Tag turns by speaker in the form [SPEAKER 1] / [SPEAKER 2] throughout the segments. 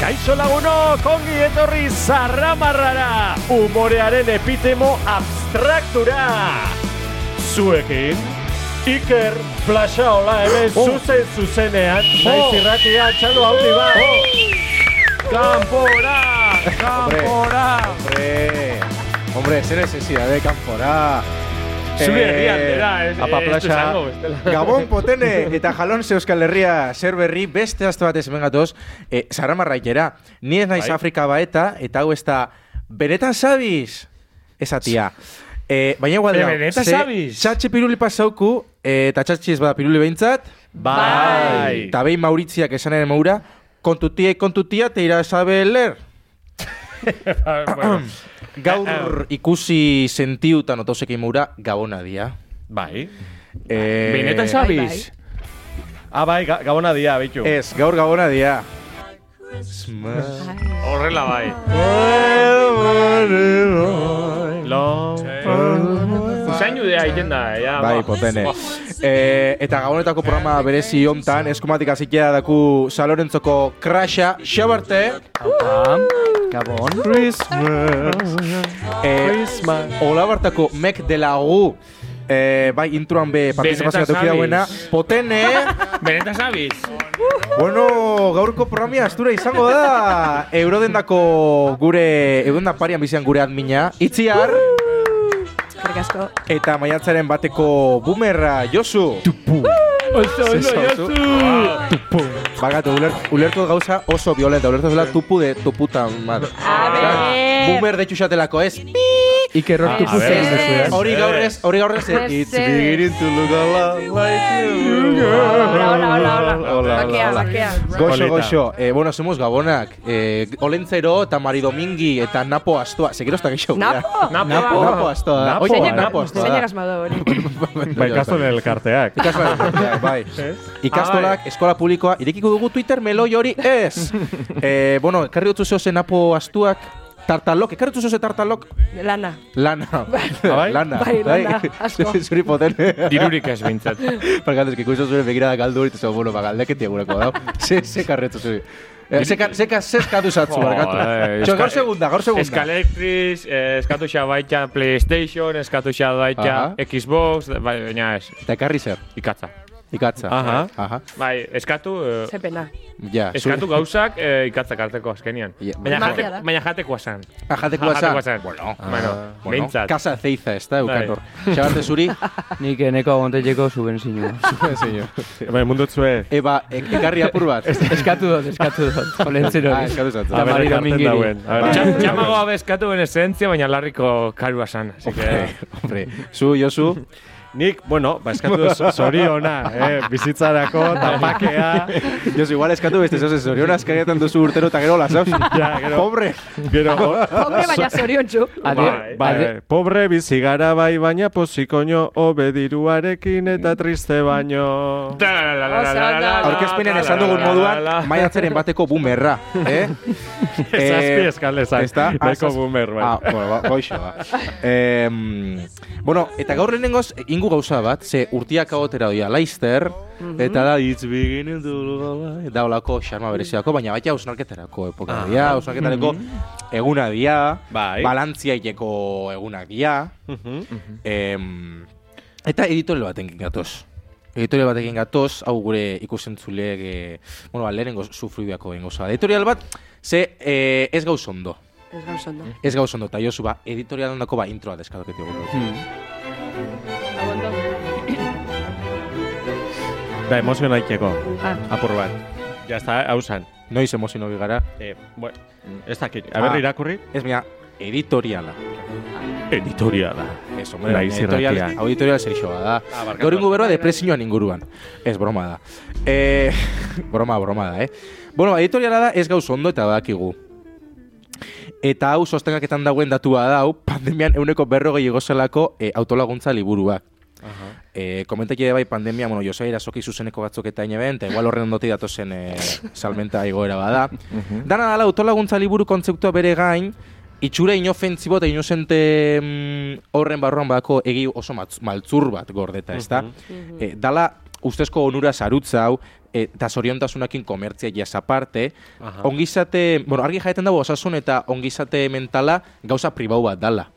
[SPEAKER 1] Kaixo laguno, kongi etorri zarramarrara, umorearen epitemo abstraktura. Zuekin, Iker Plaxaola hemen zuzen zuzenean, naiz irratia txalo haundi bat. Kanpora, kanpora.
[SPEAKER 2] Hombre, hombre, zer necesidad de kanpora.
[SPEAKER 1] Zure
[SPEAKER 2] Eh,
[SPEAKER 1] herrian dela, ez-
[SPEAKER 2] apa
[SPEAKER 1] ez
[SPEAKER 2] plaza.
[SPEAKER 1] du zango bestela.
[SPEAKER 2] Gabon potene eta jalon ze Euskal Herria zer berri beste aste batez hemen gatoz eh, Saramarraikera. Ni ez naiz
[SPEAKER 1] Bai.
[SPEAKER 2] Afrika baeta eta hau ez da benetan sabiz. Esatia. Eh, baina igual da.
[SPEAKER 1] Benetan
[SPEAKER 2] ze
[SPEAKER 1] zabiz?
[SPEAKER 2] Txatxe piruli pasauku eh, eta txatxe ez bada piruli behintzat.
[SPEAKER 1] Bai.
[SPEAKER 2] Eta behin Mauritziak esan ere maura, kontutia kontutia te ira saber leer.
[SPEAKER 1] Bueno,
[SPEAKER 2] Gaur ikusi sentiutan otosekin mura gabona dia.
[SPEAKER 1] bai.
[SPEAKER 2] Eh,
[SPEAKER 1] Benetan zabiz. Ah, bai, ga- gabona dia, bitu.
[SPEAKER 2] Ez, gaur gabona dia.
[SPEAKER 3] Horrela bai.
[SPEAKER 1] Eh, Lo.
[SPEAKER 3] Usain judea egiten da, ja.
[SPEAKER 2] Bai,
[SPEAKER 3] ba.
[SPEAKER 2] potene. Eh, eta gabonetako programa berezi hontan, eskumatik azikia daku salorentzoko krasha, xabarte.
[SPEAKER 4] Gabon.
[SPEAKER 1] Christmas.
[SPEAKER 2] Eh,
[SPEAKER 1] Christmas.
[SPEAKER 2] Ola bartako mek dela gu. Eh, bai, introan be partizipazioa
[SPEAKER 3] Benetan
[SPEAKER 2] duki dauena.
[SPEAKER 3] zabiz.
[SPEAKER 2] Potene.
[SPEAKER 3] Benetan zabiz.
[SPEAKER 2] Bueno, gaurko programia astura izango da. Eurodendako gure, eurodenda parian bizian gure admina. Itziar
[SPEAKER 5] Eskerrik asko.
[SPEAKER 2] eta maiatzaren bateko bumerra, Josu.
[SPEAKER 3] Oso,
[SPEAKER 2] ondo, Josu. Bagatu, uler, ulertu gauza oso violenta. Ulertu zela tupu de tu puta madre.
[SPEAKER 5] A ber.
[SPEAKER 2] Bumer de xatelako, ez? Pi!
[SPEAKER 4] Ikerrok
[SPEAKER 1] Ah, a ver,
[SPEAKER 4] tuputzen duzu,
[SPEAKER 5] mesedez.
[SPEAKER 4] eh?
[SPEAKER 2] Hori gaur ez, hori gaur ez.
[SPEAKER 5] Mesedez.
[SPEAKER 2] It's beginning to look a lot like you.
[SPEAKER 5] Hola, hola, hola, hola.
[SPEAKER 2] Hola,
[SPEAKER 5] Bakea,
[SPEAKER 2] hola.
[SPEAKER 5] bakea.
[SPEAKER 2] Goxo,
[SPEAKER 1] Polita.
[SPEAKER 2] goxo. Eh, bueno, somos gabonak. Eh, Olentzero, eta Mari Domingi, eta Napo Astoa. Sekiro hasta gehiago. gara.
[SPEAKER 5] Napo!
[SPEAKER 3] Napo.
[SPEAKER 2] Napo, napo astoa da.
[SPEAKER 1] Napo,
[SPEAKER 2] Oye,
[SPEAKER 1] eh?
[SPEAKER 2] napo astoa
[SPEAKER 5] Zeinak
[SPEAKER 2] da.
[SPEAKER 5] asmado hori.
[SPEAKER 1] Bai, kaso del karteak.
[SPEAKER 2] Ikastolak, bai. Ah, Ikastolak, eskola publikoa, irekiko dugu Twitter meloi hori ez. eh, bueno, ekarri dutzu zeo napo astuak, tartalok, ekarri dutzu zeo tartalok,
[SPEAKER 5] Lana.
[SPEAKER 2] lana.
[SPEAKER 1] bai?
[SPEAKER 2] lana.
[SPEAKER 5] Bai, lana, asko.
[SPEAKER 2] Zuri potene.
[SPEAKER 3] Dirurik ez bintzat.
[SPEAKER 2] Parkatu, eski kuizu zure begirada galdu hori, tezo, bueno, bagaldeketia gureko da. Ze, ze karretu zuri. Eh, Zeka, zeka, zeka duzatzu, barkatu.
[SPEAKER 3] Joder,
[SPEAKER 2] Txo,
[SPEAKER 3] eska-
[SPEAKER 2] gaur segunda, gaur segunda.
[SPEAKER 3] Escalectriz, eh, eskatu xa baita PlayStation, eskatu xa baita
[SPEAKER 2] Aha.
[SPEAKER 3] Xbox, bai, baina ez,
[SPEAKER 2] Eta ekarri zer,
[SPEAKER 3] ikatza.
[SPEAKER 2] ikatza.
[SPEAKER 1] Aha.
[SPEAKER 2] Aha.
[SPEAKER 3] Bai, eskatu, eh,
[SPEAKER 5] Zepena.
[SPEAKER 2] Ja, zuri-
[SPEAKER 3] eskatu gauzak eh, ikatzak harteko azkenian.
[SPEAKER 2] Ja,
[SPEAKER 3] Baina
[SPEAKER 5] magia
[SPEAKER 3] jate-
[SPEAKER 5] da.
[SPEAKER 3] baina jatekoa zan.
[SPEAKER 2] Ah, jatekoa
[SPEAKER 3] Ja,
[SPEAKER 2] zan.
[SPEAKER 3] Bueno,
[SPEAKER 2] Ah,
[SPEAKER 3] bueno,
[SPEAKER 2] bueno,
[SPEAKER 3] bintzat.
[SPEAKER 2] Casa zeiza, ez da,
[SPEAKER 3] Bai.
[SPEAKER 2] eukan hor. Xabarte zuri,
[SPEAKER 4] Nik eneko agontetxeko subenzinua.
[SPEAKER 2] señor.
[SPEAKER 1] Bai, mundu zue.
[SPEAKER 2] Eba, ek- ekarri apur bat.
[SPEAKER 6] Este
[SPEAKER 4] eskatu dut, eskatu dut. Olentzero.
[SPEAKER 2] Ah, eskatu zatu.
[SPEAKER 1] A
[SPEAKER 4] Eta
[SPEAKER 1] ver,
[SPEAKER 4] Mari
[SPEAKER 1] ekartzen
[SPEAKER 4] Domingiri.
[SPEAKER 1] dauen. A
[SPEAKER 2] Bai.
[SPEAKER 1] ver.
[SPEAKER 3] Txa- Txamago gabe eskatu en esentzia, baina larriko karua san. Así que,
[SPEAKER 2] Hombre, zu, Josu,
[SPEAKER 1] Nik, bueno, ba, eskatu dut zoriona, eh? bizitzarako, tapakea,
[SPEAKER 2] Josu, igual eskatu beste zoze zorion azkagetan duzu urtero eta gero lasauzi.
[SPEAKER 1] Ja, gero.
[SPEAKER 2] Pobre.
[SPEAKER 1] gero,
[SPEAKER 5] Hombre, baina zorion txu.
[SPEAKER 6] Ba.
[SPEAKER 4] Adi,
[SPEAKER 1] Bai,
[SPEAKER 4] adi,
[SPEAKER 1] bai, pobre bizi gara bai, baina pozikoño obediruarekin eta triste baino.
[SPEAKER 2] Aurkezpenen esan dugun moduan, maiatzaren bateko bumerra, eh?
[SPEAKER 1] Zazpi eskalezak.
[SPEAKER 2] Ezta? Ah,
[SPEAKER 1] Beko
[SPEAKER 2] zaz-
[SPEAKER 1] boomer, bai.
[SPEAKER 2] Ah, bueno, ba, goixo, ba. Em, bueno, eta gaur lehenengoz, ingu gauza bat, ze urtiak agotera doia laizter, eta da, it's beginning to look alike", da olako xarma bereziako, baina baita ausnarketarako epoka dia, ausnarketareko eguna dia,
[SPEAKER 1] Bai.
[SPEAKER 2] balantziaiteko egunak dia, em, eta editorial batekin gatoz. Editorial batekin gatoz, hau gure ikusentzuleek, e, bueno, ba, lehenengo sufribiako bengo zara. Editorial bat, ze eh, ez gauz ondo.
[SPEAKER 5] Ez gauz ondo.
[SPEAKER 2] Ez gauz ondo, eta Josu, ba, editorial ondako ba, introa deskadoketi gugu.
[SPEAKER 5] Hau ondo.
[SPEAKER 1] Da, Ba, emozio naikeko,
[SPEAKER 5] Ah,
[SPEAKER 1] apur bat. Ja, está, hau zan.
[SPEAKER 2] Noiz emozio hori gara.
[SPEAKER 1] Eh, bueno, ez dakit. A ber,
[SPEAKER 2] Ah.
[SPEAKER 1] irakurri.
[SPEAKER 2] Ez mira, editoriala.
[SPEAKER 1] Editoriala.
[SPEAKER 2] Ez, hombre,
[SPEAKER 1] Naiz
[SPEAKER 2] baina editorial,
[SPEAKER 1] irratia.
[SPEAKER 2] hau editorial zer isoa da.
[SPEAKER 1] Ah, barkatu.
[SPEAKER 2] Gaur ingo beroa depresioan inguruan. Ez, broma da. Eh, broma, broma da, eh. Bueno, ba, editoriala da ez gauz ondo eta badakigu. Eta hau sostengaketan dagoen datua da, hau pandemian euneko berrogei igozelako eh, autolaguntza liburuak. Eh, komentakide bai pandemia, bueno, Josei Irasoki zuzeneko batzuk eta ineben, eta igual horren ondoti datozen eh, salmenta igoera bada. Dana dala autolaguntza liburu kontzeptua bere gain, itxura inofentsibo eta inozente mm, horren barruan badako egi oso matz- maltzur bat gordeta, ezta? Eh, dala ustezko onura sarutza hau, eh, eta zoriontasunakin komertzia jasaparte,
[SPEAKER 1] Aha.
[SPEAKER 2] ongizate, bueno, argi jaeten dago osasun eta ongizate mentala gauza pribau bat dala.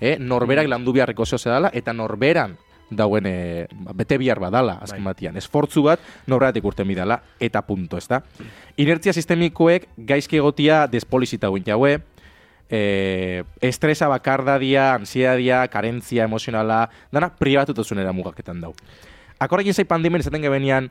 [SPEAKER 2] Eh, norberak landu beharreko zehose dala, eta norberan dauen eh, bete bihar badala, azken batian. Esfortzu bat norberatik urten bidala, eta punto, ezta? Inertzia sistemikoek gaizki egotia despolizita guin jaue, eh, estresa bakardadia, ansiedadia, karentzia emozionala, dana pribatutosunera mugaketan dau. Akorrekin zei pandemien izaten gebenian,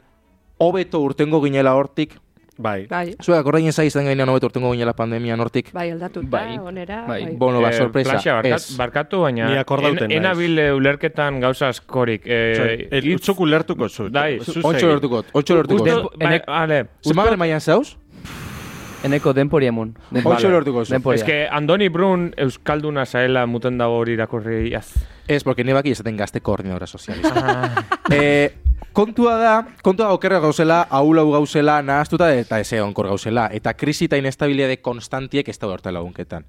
[SPEAKER 2] hobeto urtengo ginela hortik,
[SPEAKER 1] Bai.
[SPEAKER 5] Bai,
[SPEAKER 2] zuek akorrekin zei izaten genean hobeto urtengo ginela pandemia hortik,
[SPEAKER 5] bai, aldatu.
[SPEAKER 4] Bai.
[SPEAKER 5] onera.
[SPEAKER 4] Bai.
[SPEAKER 5] Bai.
[SPEAKER 2] bono bat,
[SPEAKER 3] Eh,
[SPEAKER 2] ba, sorpresa,
[SPEAKER 3] Plaxa, barkat-
[SPEAKER 2] ez.
[SPEAKER 3] barkatu, baina...
[SPEAKER 1] Ni akordauten
[SPEAKER 3] en-
[SPEAKER 1] naiz.
[SPEAKER 3] Enabil eh, ulerketan gauza askorik. Eh,
[SPEAKER 1] Eh,
[SPEAKER 3] hitz-
[SPEAKER 1] Itzuk ulertuko zu.
[SPEAKER 3] Bai.
[SPEAKER 2] Ontxo lortukot, ontxo
[SPEAKER 3] Uste-
[SPEAKER 2] lortukot.
[SPEAKER 4] Uten-
[SPEAKER 3] bai,
[SPEAKER 4] enek-
[SPEAKER 3] ale,
[SPEAKER 2] Zemagre mailan zauz?
[SPEAKER 4] Eneko denpori emun.
[SPEAKER 6] Ba,
[SPEAKER 2] Ontxo lortuko zu.
[SPEAKER 4] Denporia.
[SPEAKER 3] Ez que Andoni Brun Euskalduna zaela muten dago hori irakurri az.
[SPEAKER 2] Ez, porque nebaki izaten gazte koordinadora
[SPEAKER 1] Ah.
[SPEAKER 2] sozialista. eh, kontua da, kontua da okerra gauzela, haulau gauzela, nahaztuta eta eze onkor gauzela. Eta krisi eta inestabilidade konstantiek ez da horta lagunketan.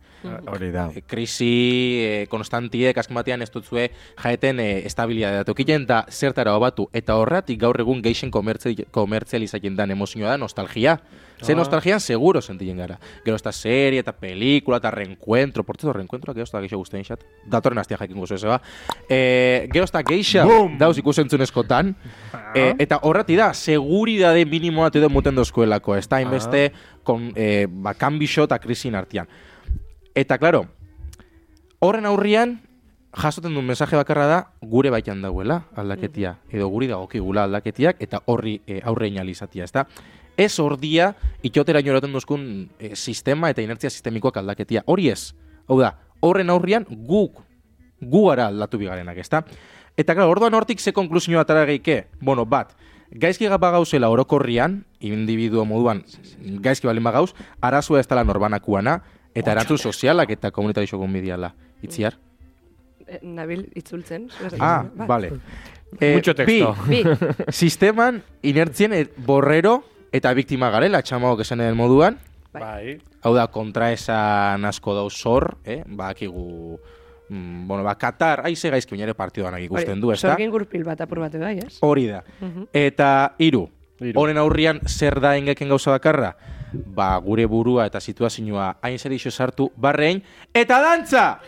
[SPEAKER 1] Hori da.
[SPEAKER 2] E, krisi eh, konstantiek azken batean ez dutzue jaeten eh, estabilidade tokilen eta zertara hobatu. Eta horratik gaur egun geixen komertzi- komertzializatzen dan emozioa da nostalgia. Ze nostalgian seguro sentilen gara. Gero esta serie eta pelikula eta reencuentro. Por cierto, reencuentro gero esta geixo guztien xat. Datorren astia jakin gozo ezeba. E, gero esta geixa dauz ikusentzunezkotan. E, eta horrati da, seguridade minimoa edo muten dozkoelako. Ez da, inbeste, kon, e, ba, kanbixo eta krisin artian. Eta, claro, horren aurrian, jasoten duen mensaje bakarra da, gure baitan dagoela aldaketia, edo guri dagokigula aldaketiak, eta horri e, aurre inalizatia, ezta? Ez ordia, itxotera inoraten duzkun e, sistema eta inertzia sistemikoak aldaketia. Hori ez. Hau da, horren aurrian guk, gu gara aldatu bigarenak, ezta? Eta, claro, orduan hortik ze konklusioa atara geike? Bueno, bat, gaizki gaba gauzela orokorrian, individuo moduan gaizki balin bagauz, arazua ez dela norbanakuana, eta erantzun sozialak eta komunitarixo konbidiala. Itziar?
[SPEAKER 5] Eh, Nabil itzultzen. zuez-
[SPEAKER 2] Ah,
[SPEAKER 5] Bai.
[SPEAKER 2] vale. Eh,
[SPEAKER 3] Mucho texto.
[SPEAKER 5] Bi.
[SPEAKER 2] Bi, sisteman inertzien eh, borrero eta biktima garela, txamaok esan den moduan.
[SPEAKER 1] Bai.
[SPEAKER 2] Hau da, kontraesan asko dauz hor, eh? Bakigu... Mm, bueno, ba, Katar, aize gaizki oinare partidoan ikusten du, ezta?
[SPEAKER 5] Sorgin gurpil bat apur bate bai, ez?
[SPEAKER 2] Hori da. Eta hiru.
[SPEAKER 1] Hiru.
[SPEAKER 2] Honen aurrian zer da engeken gauza bakarra? Ba, gure burua eta situazioa hain zer sartu barrein eta dantza!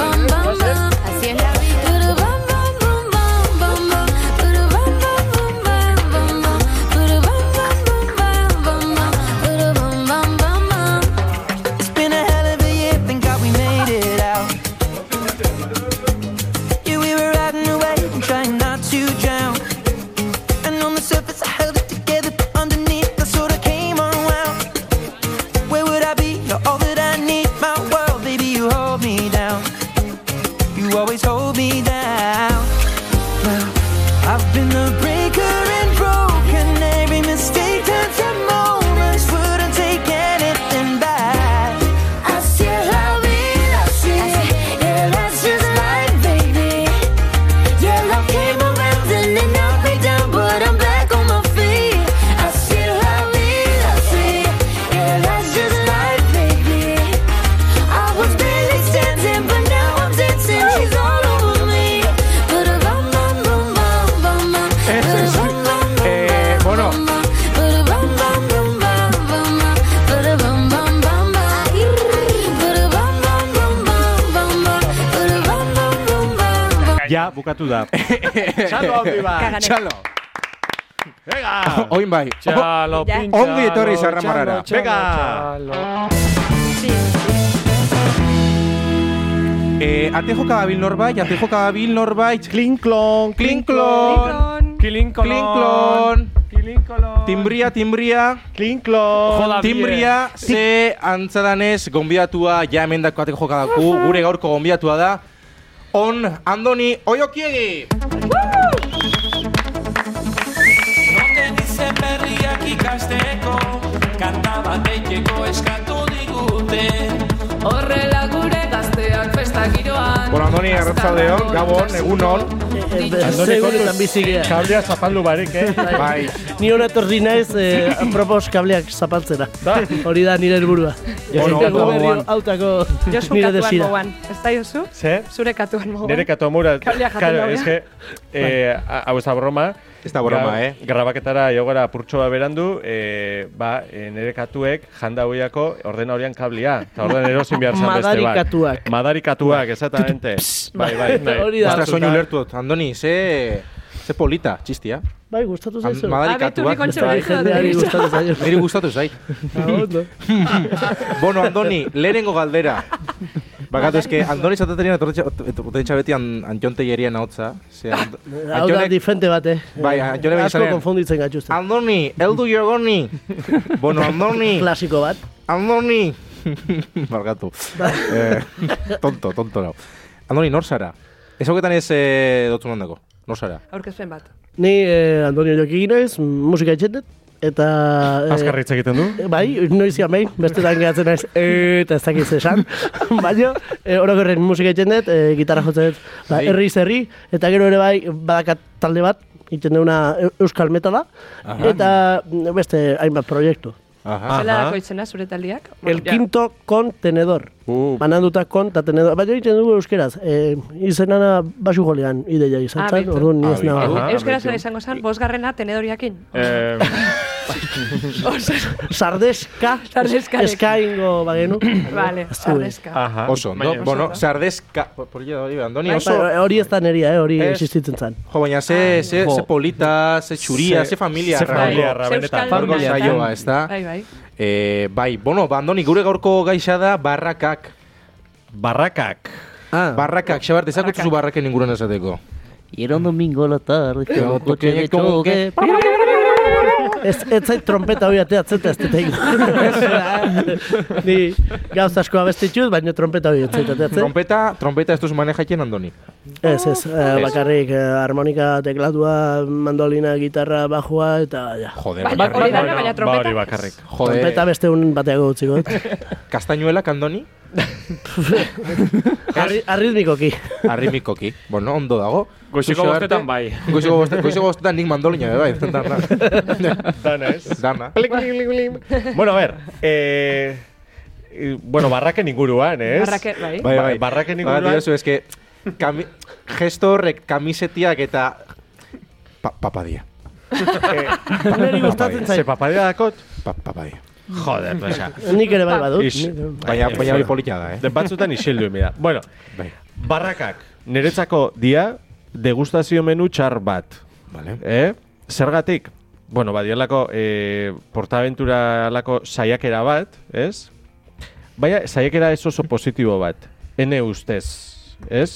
[SPEAKER 7] Así es la vida.
[SPEAKER 8] It's been a hell of a year, thank God we made it out. Yeah, we were riding away and trying not to drown. And on the surface, I held it together, but underneath, I sort of came unwound. Where would I be? You're all that I need, my world, baby. You hold me down. You always hold me down. Well, I've been a breaker and broken. Every mistake turns to moments. Wouldn't take anything back.
[SPEAKER 7] Así es la vida, así Yeah, that's just life, baby Yeah, love came around and it knocked me down But I'm back on my feet Así es la vida, así Yeah, that's just life, baby I was barely standing but now I'm dancing She's all over me But a bum bum bum bum bum bum
[SPEAKER 2] Eh, bueno,
[SPEAKER 1] Ja, bukatu da.
[SPEAKER 3] Txalo hau bat.
[SPEAKER 5] Kagane.
[SPEAKER 2] txalo!
[SPEAKER 3] Venga.
[SPEAKER 2] Oin bai.
[SPEAKER 3] Txalo,
[SPEAKER 5] Ja.
[SPEAKER 3] pintxalo.
[SPEAKER 2] Ongi etorri zarramarrara.
[SPEAKER 3] txalo,
[SPEAKER 1] Venga.
[SPEAKER 3] txalo.
[SPEAKER 2] Eh, ate joka dabil norbait, ate joka dabil norbait.
[SPEAKER 1] Klinklon,
[SPEAKER 2] Klinklon!
[SPEAKER 3] Kilinkolon.
[SPEAKER 2] Klinklon!
[SPEAKER 3] Kilinkolon.
[SPEAKER 2] Timbria, timbria!
[SPEAKER 1] klinklon.
[SPEAKER 3] Joda,
[SPEAKER 2] Timbria, ze antzadanez gonbidatua ja emendako ate joka daku, gure gaurko gonbidatua da. On, Andoni, oiokiegi!
[SPEAKER 9] Onde dize berriak ikasteko Kanta batetxeko eskatu digute Horrela gure gazteak festa giroan
[SPEAKER 2] Bueno, Andoni, arratzaldeon, Gabon, egunon.
[SPEAKER 10] Andoni
[SPEAKER 11] Seguretan bizi gea.
[SPEAKER 10] Kablea zapaldu barek, eh?
[SPEAKER 2] Bai,
[SPEAKER 11] Ni hor etorri naiz eh, apropos kableak zapaltzera. Hori da nire helburua. Jaiteko
[SPEAKER 2] Bueno, hau da
[SPEAKER 11] berrio
[SPEAKER 2] moduan.
[SPEAKER 11] hautako
[SPEAKER 5] Josu
[SPEAKER 11] nire
[SPEAKER 5] katuan
[SPEAKER 11] desira.
[SPEAKER 5] moguan. Ez da Josu?
[SPEAKER 10] Ze?
[SPEAKER 5] Zure katuan moguan.
[SPEAKER 10] Nire katomura,
[SPEAKER 5] Kablea jaten
[SPEAKER 10] claro,
[SPEAKER 5] dagoela.
[SPEAKER 10] es que, eh, a- hau ez da broma.
[SPEAKER 2] Ez da broma,
[SPEAKER 10] Ga-
[SPEAKER 2] eh?
[SPEAKER 10] Grabaketara jogara purtsoa berandu, eh, ba, eh, nire katuek janda hoiako ordena horian kablea. Eta ordean erosin behar zan beste bat.
[SPEAKER 11] Madarikatuak.
[SPEAKER 10] Madarikatuak, exactamente. Bai, bai, bai.
[SPEAKER 11] Hori da.
[SPEAKER 2] ostra, soinu lertu dut. Andoni, ze... Ze polita, txistia.
[SPEAKER 11] Bai, gustatu zaizu.
[SPEAKER 5] Abeturri
[SPEAKER 2] Madarikatuak.
[SPEAKER 5] kontxo
[SPEAKER 11] Bai, jendeari gustatu zaizu.
[SPEAKER 2] Niri gustatu zait.
[SPEAKER 11] Ah, ondo.
[SPEAKER 2] Bueno, Andoni, lehenengo galdera. Bakatu, eske, Andoni zataterian etorretxa beti an, Antion Tellerian ahotza. Ze, And-
[SPEAKER 11] Hau da,
[SPEAKER 2] Antionek-
[SPEAKER 11] diferente bat, eh?
[SPEAKER 2] Bai, Antione
[SPEAKER 11] Asko
[SPEAKER 2] Benizanen.
[SPEAKER 11] konfunditzen gaituzte.
[SPEAKER 2] Andoni, eldu jogoni. Bueno, Andoni,
[SPEAKER 11] Klasiko bat.
[SPEAKER 2] Andoni. Barkatu. eh, tonto, tonto nau. Andoni, nor zara? Ez hauketan ez eh, dotun handako. Nor zara?
[SPEAKER 5] Aurkezpen bat.
[SPEAKER 11] Ni eh, Antonio Joki ginez, musika etxetet, eta... eh,
[SPEAKER 10] Azkarra hitz egiten du.
[SPEAKER 11] Bai, noiz jamein, bestetan gehatzen naiz, eh, eta ez dakit zer esan. Baina, e, orokorren musika egiten dut, e, gitarra jotzen dut, ba,
[SPEAKER 2] Bai.
[SPEAKER 11] herriz herri, eta gero ere bai, badakat talde bat, egiten duguna eu- euskal metala, eta mm, beste hainbat proiektu.
[SPEAKER 2] Aha.
[SPEAKER 5] Zela dako izena zure taldiak?
[SPEAKER 11] El quinto contenedor.
[SPEAKER 10] Uh.
[SPEAKER 11] Bananduta kon eta tenedor. Baina egiten dugu euskeraz. E, izenana basu golean ideia izan
[SPEAKER 5] Ah,
[SPEAKER 11] zen,
[SPEAKER 5] beitu.
[SPEAKER 11] orduan ni ez
[SPEAKER 2] Ah,
[SPEAKER 11] nago.
[SPEAKER 2] beitu.
[SPEAKER 5] Ja.
[SPEAKER 2] Aha,
[SPEAKER 5] Euskara
[SPEAKER 2] beitu.
[SPEAKER 5] zela izango zen, bosgarrena tenedoriakin.
[SPEAKER 2] Bai.
[SPEAKER 10] Eh,
[SPEAKER 11] Sardeska,
[SPEAKER 5] Sardeska.
[SPEAKER 11] eskaingo bagenu.
[SPEAKER 5] Vale,
[SPEAKER 11] Ez du, eh.
[SPEAKER 5] arrezka.
[SPEAKER 10] aha.
[SPEAKER 2] Ah, Oso, ondo.
[SPEAKER 10] Baina-
[SPEAKER 2] Bueno, sardeska... Polita da hori, Andoni,
[SPEAKER 11] Bai,
[SPEAKER 2] oso...
[SPEAKER 11] hori ez da neria, eh, hori
[SPEAKER 2] Ez.
[SPEAKER 11] existitzen zen.
[SPEAKER 2] Jo, baina ze, ze, ze polita, ze txuria,
[SPEAKER 10] Ze-
[SPEAKER 2] ze familia.
[SPEAKER 10] ze
[SPEAKER 2] arra.
[SPEAKER 10] familia. Familiarra, benetan.
[SPEAKER 2] Gaurko saioa, ez da?
[SPEAKER 5] Bai, bai.
[SPEAKER 2] Eh, bai, bueno, ba, Andoni, gure gaurko gaixa da barrakak.
[SPEAKER 10] Barrakak.
[SPEAKER 11] Ah.
[SPEAKER 2] Barrakak, xabar, dezakutuzu barraken inguruan esateko.
[SPEAKER 4] Y era un domingo a la tarde, como coche de choque.
[SPEAKER 11] Ez, ez zait trompeta hori ateatzen eta ez dut egin. Ni gauz asko abestituz, baina trompeta hori ez zait ateatzen.
[SPEAKER 2] Trompeta, trompeta ez duzu manejatzen, Andoni.
[SPEAKER 11] Ez, ez, eh, bakarrik eh, harmonika, teklatua, mandolina, gitarra, bajua eta ja.
[SPEAKER 2] Joder,
[SPEAKER 10] Bai.
[SPEAKER 5] Baina
[SPEAKER 2] bakarrik.
[SPEAKER 5] Bai, hori dana, baina
[SPEAKER 10] Ba hori
[SPEAKER 5] trompeta.
[SPEAKER 10] bakarrik.
[SPEAKER 11] Trompeta
[SPEAKER 2] Joder,
[SPEAKER 11] beste un bateago utziko dut.
[SPEAKER 2] kastañuelak, Andoni,
[SPEAKER 11] Arri- Arritmikoki.
[SPEAKER 2] arrimikoki. Bueno, ondo dago.
[SPEAKER 3] Goizeko
[SPEAKER 2] Zu xabar,
[SPEAKER 3] bostetan bai.
[SPEAKER 2] Goizeko bostetan, goizeko bostetan nik mandolina, be, bai. Dana.
[SPEAKER 10] Dana ez.
[SPEAKER 2] Dana.
[SPEAKER 3] Bai,
[SPEAKER 10] Plik, plik, plik, plik. bueno, a ver. Eh, eh, bueno, barraken inguruan, ez?
[SPEAKER 5] Barrake, bai.
[SPEAKER 10] Bai, bai. Barraken
[SPEAKER 2] Ba,
[SPEAKER 10] inguruan.
[SPEAKER 2] diozu, eske, kami, gesto horrek kamisetiak eta... Pa, papadia.
[SPEAKER 11] Neri
[SPEAKER 2] bai.
[SPEAKER 11] gustatzen
[SPEAKER 10] Ze
[SPEAKER 11] zait.
[SPEAKER 10] papadea dakot?
[SPEAKER 2] Pa, papadia.
[SPEAKER 10] Joder, presa.
[SPEAKER 11] Nik ere bai badut.
[SPEAKER 10] Ix.
[SPEAKER 11] Nik-
[SPEAKER 2] Baina,
[SPEAKER 10] Bai,
[SPEAKER 2] baina
[SPEAKER 10] ez.
[SPEAKER 2] hori polita da, eh?
[SPEAKER 10] De batzutan isildu, mira. Bueno,
[SPEAKER 2] Bai.
[SPEAKER 10] barrakak, niretzako dia degustazio menu txar bat.
[SPEAKER 2] Vale.
[SPEAKER 10] Eh? Zergatik? Bueno, badielako eh, portaventura lako saiakera bat, ez? Baina saiakera ez oso positibo bat. Ene ustez, ez?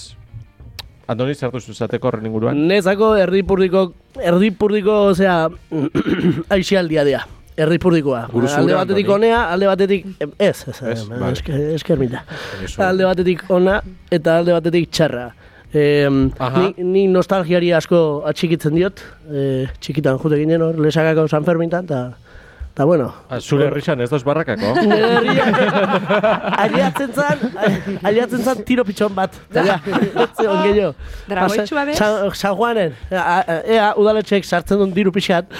[SPEAKER 10] Andoni, zer duzu zateko horren inguruan?
[SPEAKER 11] Nezako erdipurdiko, erdipurdiko, osea, aixialdia dea. Erdipurdikoa.
[SPEAKER 2] Buruzura,
[SPEAKER 11] alde batetik
[SPEAKER 10] bai.
[SPEAKER 2] Andoni.
[SPEAKER 11] onea, alde batetik... Ez, ez, ez,
[SPEAKER 2] Ez, vale.
[SPEAKER 11] eske- eskermita.
[SPEAKER 2] Buruzura.
[SPEAKER 11] Alde batetik ona eta alde batetik txarra. Eh,
[SPEAKER 10] Aha.
[SPEAKER 11] ni, ni nostalgiari asko atxikitzen diot. Eh, txikitan jute ginen hor, lesakako San Fermintan, eta... Eta bueno,
[SPEAKER 10] Ah, Zure herrixan ez dos barrakako?
[SPEAKER 11] aliatzen zan, aliatzen zan tiro pitxon bat. Eta ja, ez zegoen gehiago.
[SPEAKER 5] Dragoitxua bez?
[SPEAKER 11] San, San Juanen, a- a- ea udaletxek sartzen duen diru pixat,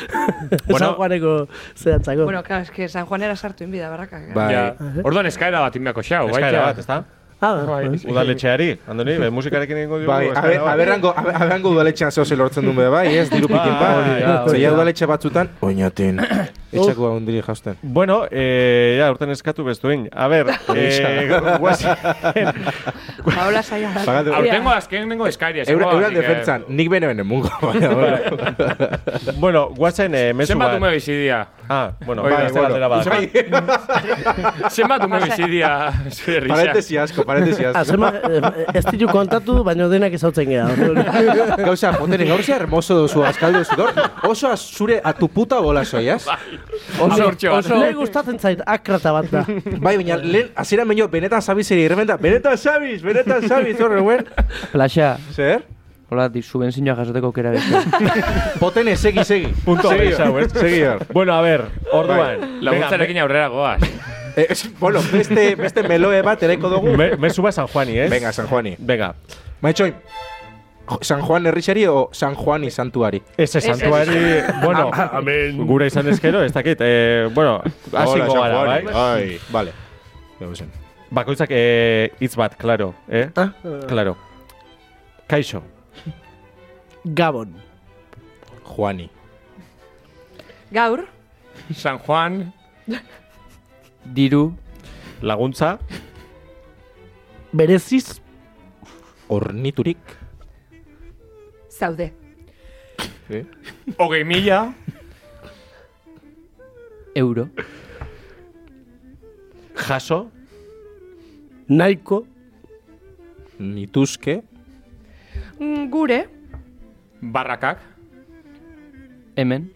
[SPEAKER 10] Bueno.
[SPEAKER 11] San Juaneko zehatzako.
[SPEAKER 5] Bueno, claro, es que San Juanera sartu inbida barrakak.
[SPEAKER 2] Bai.
[SPEAKER 3] Ja. Orduan eskaera bat inbeako xau, bai.
[SPEAKER 10] Eskaera bat, ezta?
[SPEAKER 11] ah,
[SPEAKER 12] Bai.
[SPEAKER 10] Udaletxeari, Andoni, be, musikarekin egingo diogu.
[SPEAKER 2] Bai,
[SPEAKER 10] eskaera bat.
[SPEAKER 2] aberrango, aberrango udaletxean zeo lortzen duen be, bai, ez, diru pikin
[SPEAKER 10] hori
[SPEAKER 2] ba.
[SPEAKER 10] da, hori
[SPEAKER 2] Zeia
[SPEAKER 10] da.
[SPEAKER 2] udaletxe batzutan, oinaten, etxako hundiri jausten.
[SPEAKER 10] Bueno, eh, ja, urten eskatu bestuin. A ber, eh, guazen,
[SPEAKER 5] Paola saia.
[SPEAKER 2] Pagatu.
[SPEAKER 3] Aurtengo azkenengo eskaria.
[SPEAKER 2] Eura,
[SPEAKER 3] zegoen,
[SPEAKER 2] eurak
[SPEAKER 3] nik, eh,
[SPEAKER 2] defentzan, nik bene bene mungo, baina, bueno.
[SPEAKER 10] bueno, guazen eh, mesu
[SPEAKER 3] Zenbat ume
[SPEAKER 10] bat.
[SPEAKER 3] bizidia?
[SPEAKER 10] Ah, bueno,
[SPEAKER 3] Oiga,
[SPEAKER 10] bai, beste
[SPEAKER 2] bueno.
[SPEAKER 10] galdera bat.
[SPEAKER 2] Bai.
[SPEAKER 3] Zenbat ume bizidia? Zure risa.
[SPEAKER 2] Parentesi asko, parentesi asko.
[SPEAKER 11] Azema, ah, eh, ez ditu kontatu, baina denak ezautzen geha.
[SPEAKER 2] Gauza, Jotene, gaur ze hermoso duzu, azkaldu duzu, gaur oso az- zure a tu puta bola ¿eh? soiaz.
[SPEAKER 3] Amortxo bat.
[SPEAKER 11] Nei gustatzen zait, akrata bat da.
[SPEAKER 2] Bai, baina lehen, azira meño, benetan sabiz ere irrementa, benetan sabiz, benetan sabiz, horre guen.
[SPEAKER 4] Plaxa,
[SPEAKER 2] Zer?
[SPEAKER 4] hola, di- subentzioa jasoteko aukera beste.
[SPEAKER 2] Potene, segi, segi.
[SPEAKER 10] Punto
[SPEAKER 2] Segi
[SPEAKER 10] hau,
[SPEAKER 2] hor,
[SPEAKER 10] ez?
[SPEAKER 2] Segi hor.
[SPEAKER 10] Bueno, a ber, orduan.
[SPEAKER 3] Laguntzarekin aurrera goaz.
[SPEAKER 2] Eh, es- bueno, este, beste, beste meloe bat eraiko dugu.
[SPEAKER 10] Me, mesu bat San Juani, ez?
[SPEAKER 2] Venga, San Juani.
[SPEAKER 10] Venga.
[SPEAKER 2] Maitxoin. Jo- San Juan herrixari o San Juan izantuari?
[SPEAKER 10] Ez santuari, bueno,
[SPEAKER 5] Ah,
[SPEAKER 12] Amen.
[SPEAKER 10] gura izan ezkero, ez dakit, eh, bueno, hasiko
[SPEAKER 12] Hola,
[SPEAKER 10] gara,
[SPEAKER 12] San Juani.
[SPEAKER 10] bai?
[SPEAKER 12] Ai, vale. Gau zen.
[SPEAKER 10] Bakoitzak eh, hitz bat, claro, eh?
[SPEAKER 11] Ah.
[SPEAKER 10] Claro. Kaixo,
[SPEAKER 11] Gabon.
[SPEAKER 2] Juani.
[SPEAKER 5] Gaur,
[SPEAKER 3] San Juan,
[SPEAKER 6] Diru,
[SPEAKER 10] laguntza,
[SPEAKER 11] Bereziz.
[SPEAKER 2] Orniturik.
[SPEAKER 5] zaude.
[SPEAKER 3] hogei mila,
[SPEAKER 6] euro,
[SPEAKER 10] jaso,
[SPEAKER 11] Naiko.
[SPEAKER 2] Nituzke.
[SPEAKER 5] Mm, Gure,
[SPEAKER 3] barrakak,
[SPEAKER 6] hemen,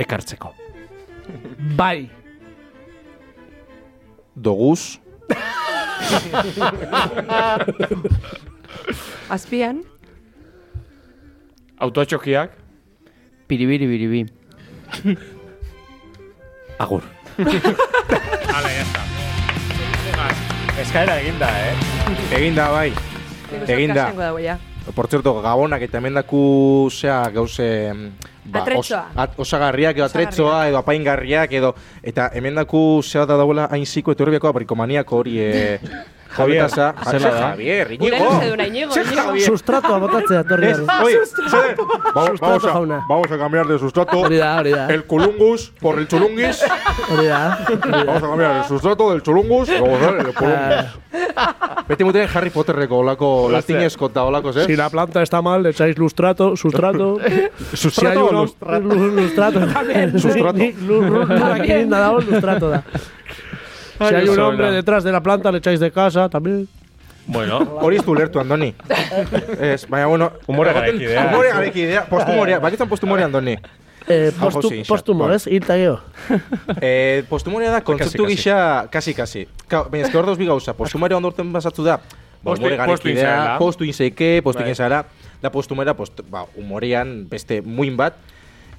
[SPEAKER 10] ekartzeko.
[SPEAKER 11] Bai.
[SPEAKER 2] Doguz.
[SPEAKER 5] azpian,
[SPEAKER 3] autotxokiak,
[SPEAKER 6] piribiri biribi,
[SPEAKER 2] Agur.
[SPEAKER 3] eskaera eginda, eh?
[SPEAKER 2] Eginda bai. Eginda.
[SPEAKER 5] Eginda. Dago, ja.
[SPEAKER 2] Por cierto, gabonak eta emendaku zea gauze... mm,
[SPEAKER 5] Atretzoa.
[SPEAKER 2] at, osagarriak edo atretzoa
[SPEAKER 5] Osagarriak.
[SPEAKER 2] edo apaingarriak edo... Eta emendaku zea da dauela hain ziko etorbiako abrikomaniako hori... Eh,
[SPEAKER 10] Javier,
[SPEAKER 2] Javier,
[SPEAKER 10] zela da. eh?
[SPEAKER 2] Javier,
[SPEAKER 5] Gure
[SPEAKER 2] Iñigo.
[SPEAKER 5] luzeduna, Inigo, Inigo.
[SPEAKER 11] Sustratoa botatzea etorri
[SPEAKER 2] Es,
[SPEAKER 11] gara.
[SPEAKER 2] oye, Sede, vamos,
[SPEAKER 11] Sustrato
[SPEAKER 2] vamos, a,
[SPEAKER 11] jauna.
[SPEAKER 2] vamos a cambiar de sustrato.
[SPEAKER 6] Hori da, hori da.
[SPEAKER 2] El culungus por el chulunguis.
[SPEAKER 11] Hori da.
[SPEAKER 2] Vamos a cambiar el sustrato del chulungus. Vamos a ver el culungus. Beti muten Harry Potterreko olako latinezko eta olako, eh?
[SPEAKER 12] Si la planta está mal, echáis lustrato, sustrato.
[SPEAKER 11] Si hay uno, lu- lustrato.
[SPEAKER 2] Sustrato.
[SPEAKER 11] Ni- lu- lu- Aquí nada, un lustrato da. Si hay un hombre detrás de la planta, le echáis de casa también.
[SPEAKER 10] Bueno,
[SPEAKER 2] Hori ez du ulertu, Andoni. Ez, baina, bueno...
[SPEAKER 10] Humore
[SPEAKER 2] egoten-
[SPEAKER 10] garekidea.
[SPEAKER 2] Humore garekidea. Postumorea. Bakitzen postumorea, Andoni.
[SPEAKER 11] Eh,
[SPEAKER 2] Ah,
[SPEAKER 11] postu,
[SPEAKER 2] Jose, isa.
[SPEAKER 11] postumo,
[SPEAKER 2] Vale.
[SPEAKER 11] ez? Hilta geho.
[SPEAKER 2] Eh, postumorea da kontzeptu
[SPEAKER 10] kasi.
[SPEAKER 2] gisa... Kasi, kasi. Ka- Baina, ezke hor dauz bi gauza. Postumorea ondorten basatzu da... Ba,
[SPEAKER 3] Postu-
[SPEAKER 2] humore
[SPEAKER 3] postu egin
[SPEAKER 2] garekidea,
[SPEAKER 3] zarela.
[SPEAKER 2] postu inzeike, postu
[SPEAKER 3] Bai.
[SPEAKER 2] egin zara. Da postumera, post, ba, humorean beste muin bat.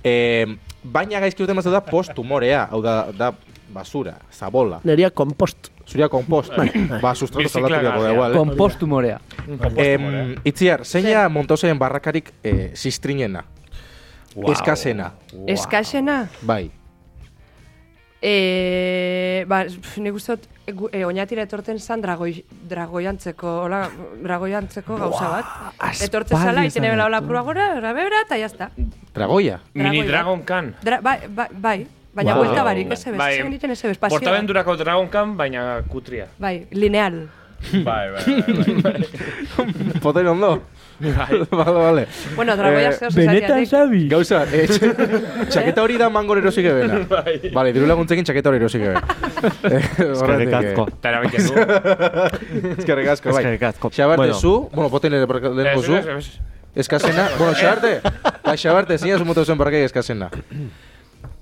[SPEAKER 2] Eh, baina gaizki duten bazatu da postumorea. Hau da, da basura, zabola.
[SPEAKER 11] Neria kompost.
[SPEAKER 2] Zuria kompost.
[SPEAKER 3] Bai,
[SPEAKER 2] ba, sustrato
[SPEAKER 3] Biziklana,
[SPEAKER 2] zaldatu beharko da,
[SPEAKER 3] ja.
[SPEAKER 2] igual. eh?
[SPEAKER 6] kompostu morea.
[SPEAKER 2] Em, itziar, zeina montauzaren barrakarik eh, ziztrinena? Eskazena.
[SPEAKER 5] Eskaxena,
[SPEAKER 2] Bai.
[SPEAKER 5] e, ba, pf, nik uste dut, e, gu- e, oinatira etorten zan dragoi, dragoiantzeko, hola, dragoiantzeko gauza bat. Etortzen
[SPEAKER 6] aspaldi
[SPEAKER 5] zala,
[SPEAKER 6] esan
[SPEAKER 5] itene bela
[SPEAKER 6] dut.
[SPEAKER 5] hola pruba gora, bera bera, eta jazta.
[SPEAKER 2] Tragoia.
[SPEAKER 5] Dragoi
[SPEAKER 3] Mini
[SPEAKER 5] bat.
[SPEAKER 3] Dragon Khan.
[SPEAKER 5] Dra, bai, bai, bai, baina
[SPEAKER 2] Wow.
[SPEAKER 5] buelta barik, ez ebes,
[SPEAKER 3] Bai,
[SPEAKER 5] bai, egiten ez ebes, pasio. bat.
[SPEAKER 3] Portabendurako Dragon Khan, baina kutria.
[SPEAKER 5] Bai, lineal.
[SPEAKER 3] Bai, bai, bai.
[SPEAKER 2] Poten ondo. Bai. vale, vale.
[SPEAKER 5] Bueno, dragoia
[SPEAKER 2] Eh,
[SPEAKER 5] zeo zezateatik.
[SPEAKER 6] Xabi.
[SPEAKER 2] Gauza, eh, tx- txaketa hori da mangor erosik ebena. Vale, diru laguntzekin txaketa hori Eh, erosik ebena. Eskerrik
[SPEAKER 10] asko.
[SPEAKER 3] Eta erabiltzen du.
[SPEAKER 2] Eskerrik asko, bai.
[SPEAKER 10] Eskerrik asko.
[SPEAKER 2] Xabarte
[SPEAKER 10] Bueno.
[SPEAKER 2] zu, bueno, poten ere barka- lehenko
[SPEAKER 3] Ez,
[SPEAKER 2] zu.
[SPEAKER 3] ez, ez.
[SPEAKER 2] Eskazena, bueno, xabarte. Ba, xabarte, zeina zu montauzaren barrakarik eskazena.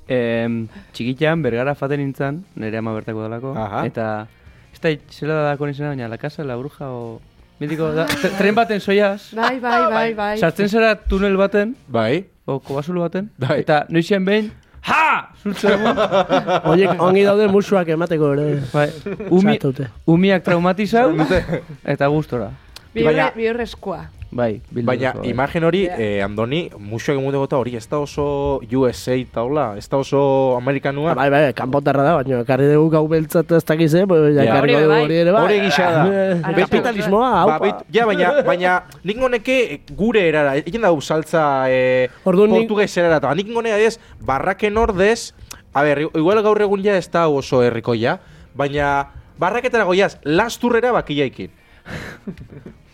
[SPEAKER 6] Em, txikitan, bergara faten nintzen, nire ama bertako dalako.
[SPEAKER 2] Aha.
[SPEAKER 6] Eta, ez da, zela da dako nintzen, baina, la casa, la bruja, o... Mitiko, da, tre- tren baten soiaz,
[SPEAKER 5] Bai, bai, bai, bai.
[SPEAKER 6] sartzen zara tunel baten,
[SPEAKER 2] Bai.
[SPEAKER 6] o kobazulu baten,
[SPEAKER 2] Bai.
[SPEAKER 6] eta noizian behin, ha! Zurtza dugu,
[SPEAKER 11] Oiek, ongi daude musuak emateko, ere.
[SPEAKER 6] bai, umi,
[SPEAKER 11] Sartute.
[SPEAKER 6] umiak traumatizau, eta gustora.
[SPEAKER 5] Bihurre,
[SPEAKER 2] Baina-
[SPEAKER 5] bihurrezkoa.
[SPEAKER 6] Bai, bildu
[SPEAKER 2] Baina,
[SPEAKER 6] duzu, bai.
[SPEAKER 2] imagen hori, eh, Andoni, musuak emude gota hori, ez da oso USA taula, ez da
[SPEAKER 11] Ah,
[SPEAKER 2] oso amerikanua.
[SPEAKER 11] Bai, bai, kanpotarra da, baina ekarri dugu gau beltzat ez dakiz, eh? Baina
[SPEAKER 2] Ja.
[SPEAKER 5] Hori
[SPEAKER 11] ekarri dugu
[SPEAKER 5] bai.
[SPEAKER 11] hori ere, bai.
[SPEAKER 2] Hori gisa da.
[SPEAKER 11] Eh,
[SPEAKER 5] Ara,
[SPEAKER 11] Kapitalismoa, hau.
[SPEAKER 2] Ba, bait- ja, baina, baina nik ngoneke gure erara, egin da saltza eh,
[SPEAKER 11] Orduan nik-
[SPEAKER 2] portugues erara, eta nik ngonea ez, barraken ordez, a ber, igual gaur egun ja ez da oso herrikoia, baina barraketara goiaz, lasturrera bakilaikin.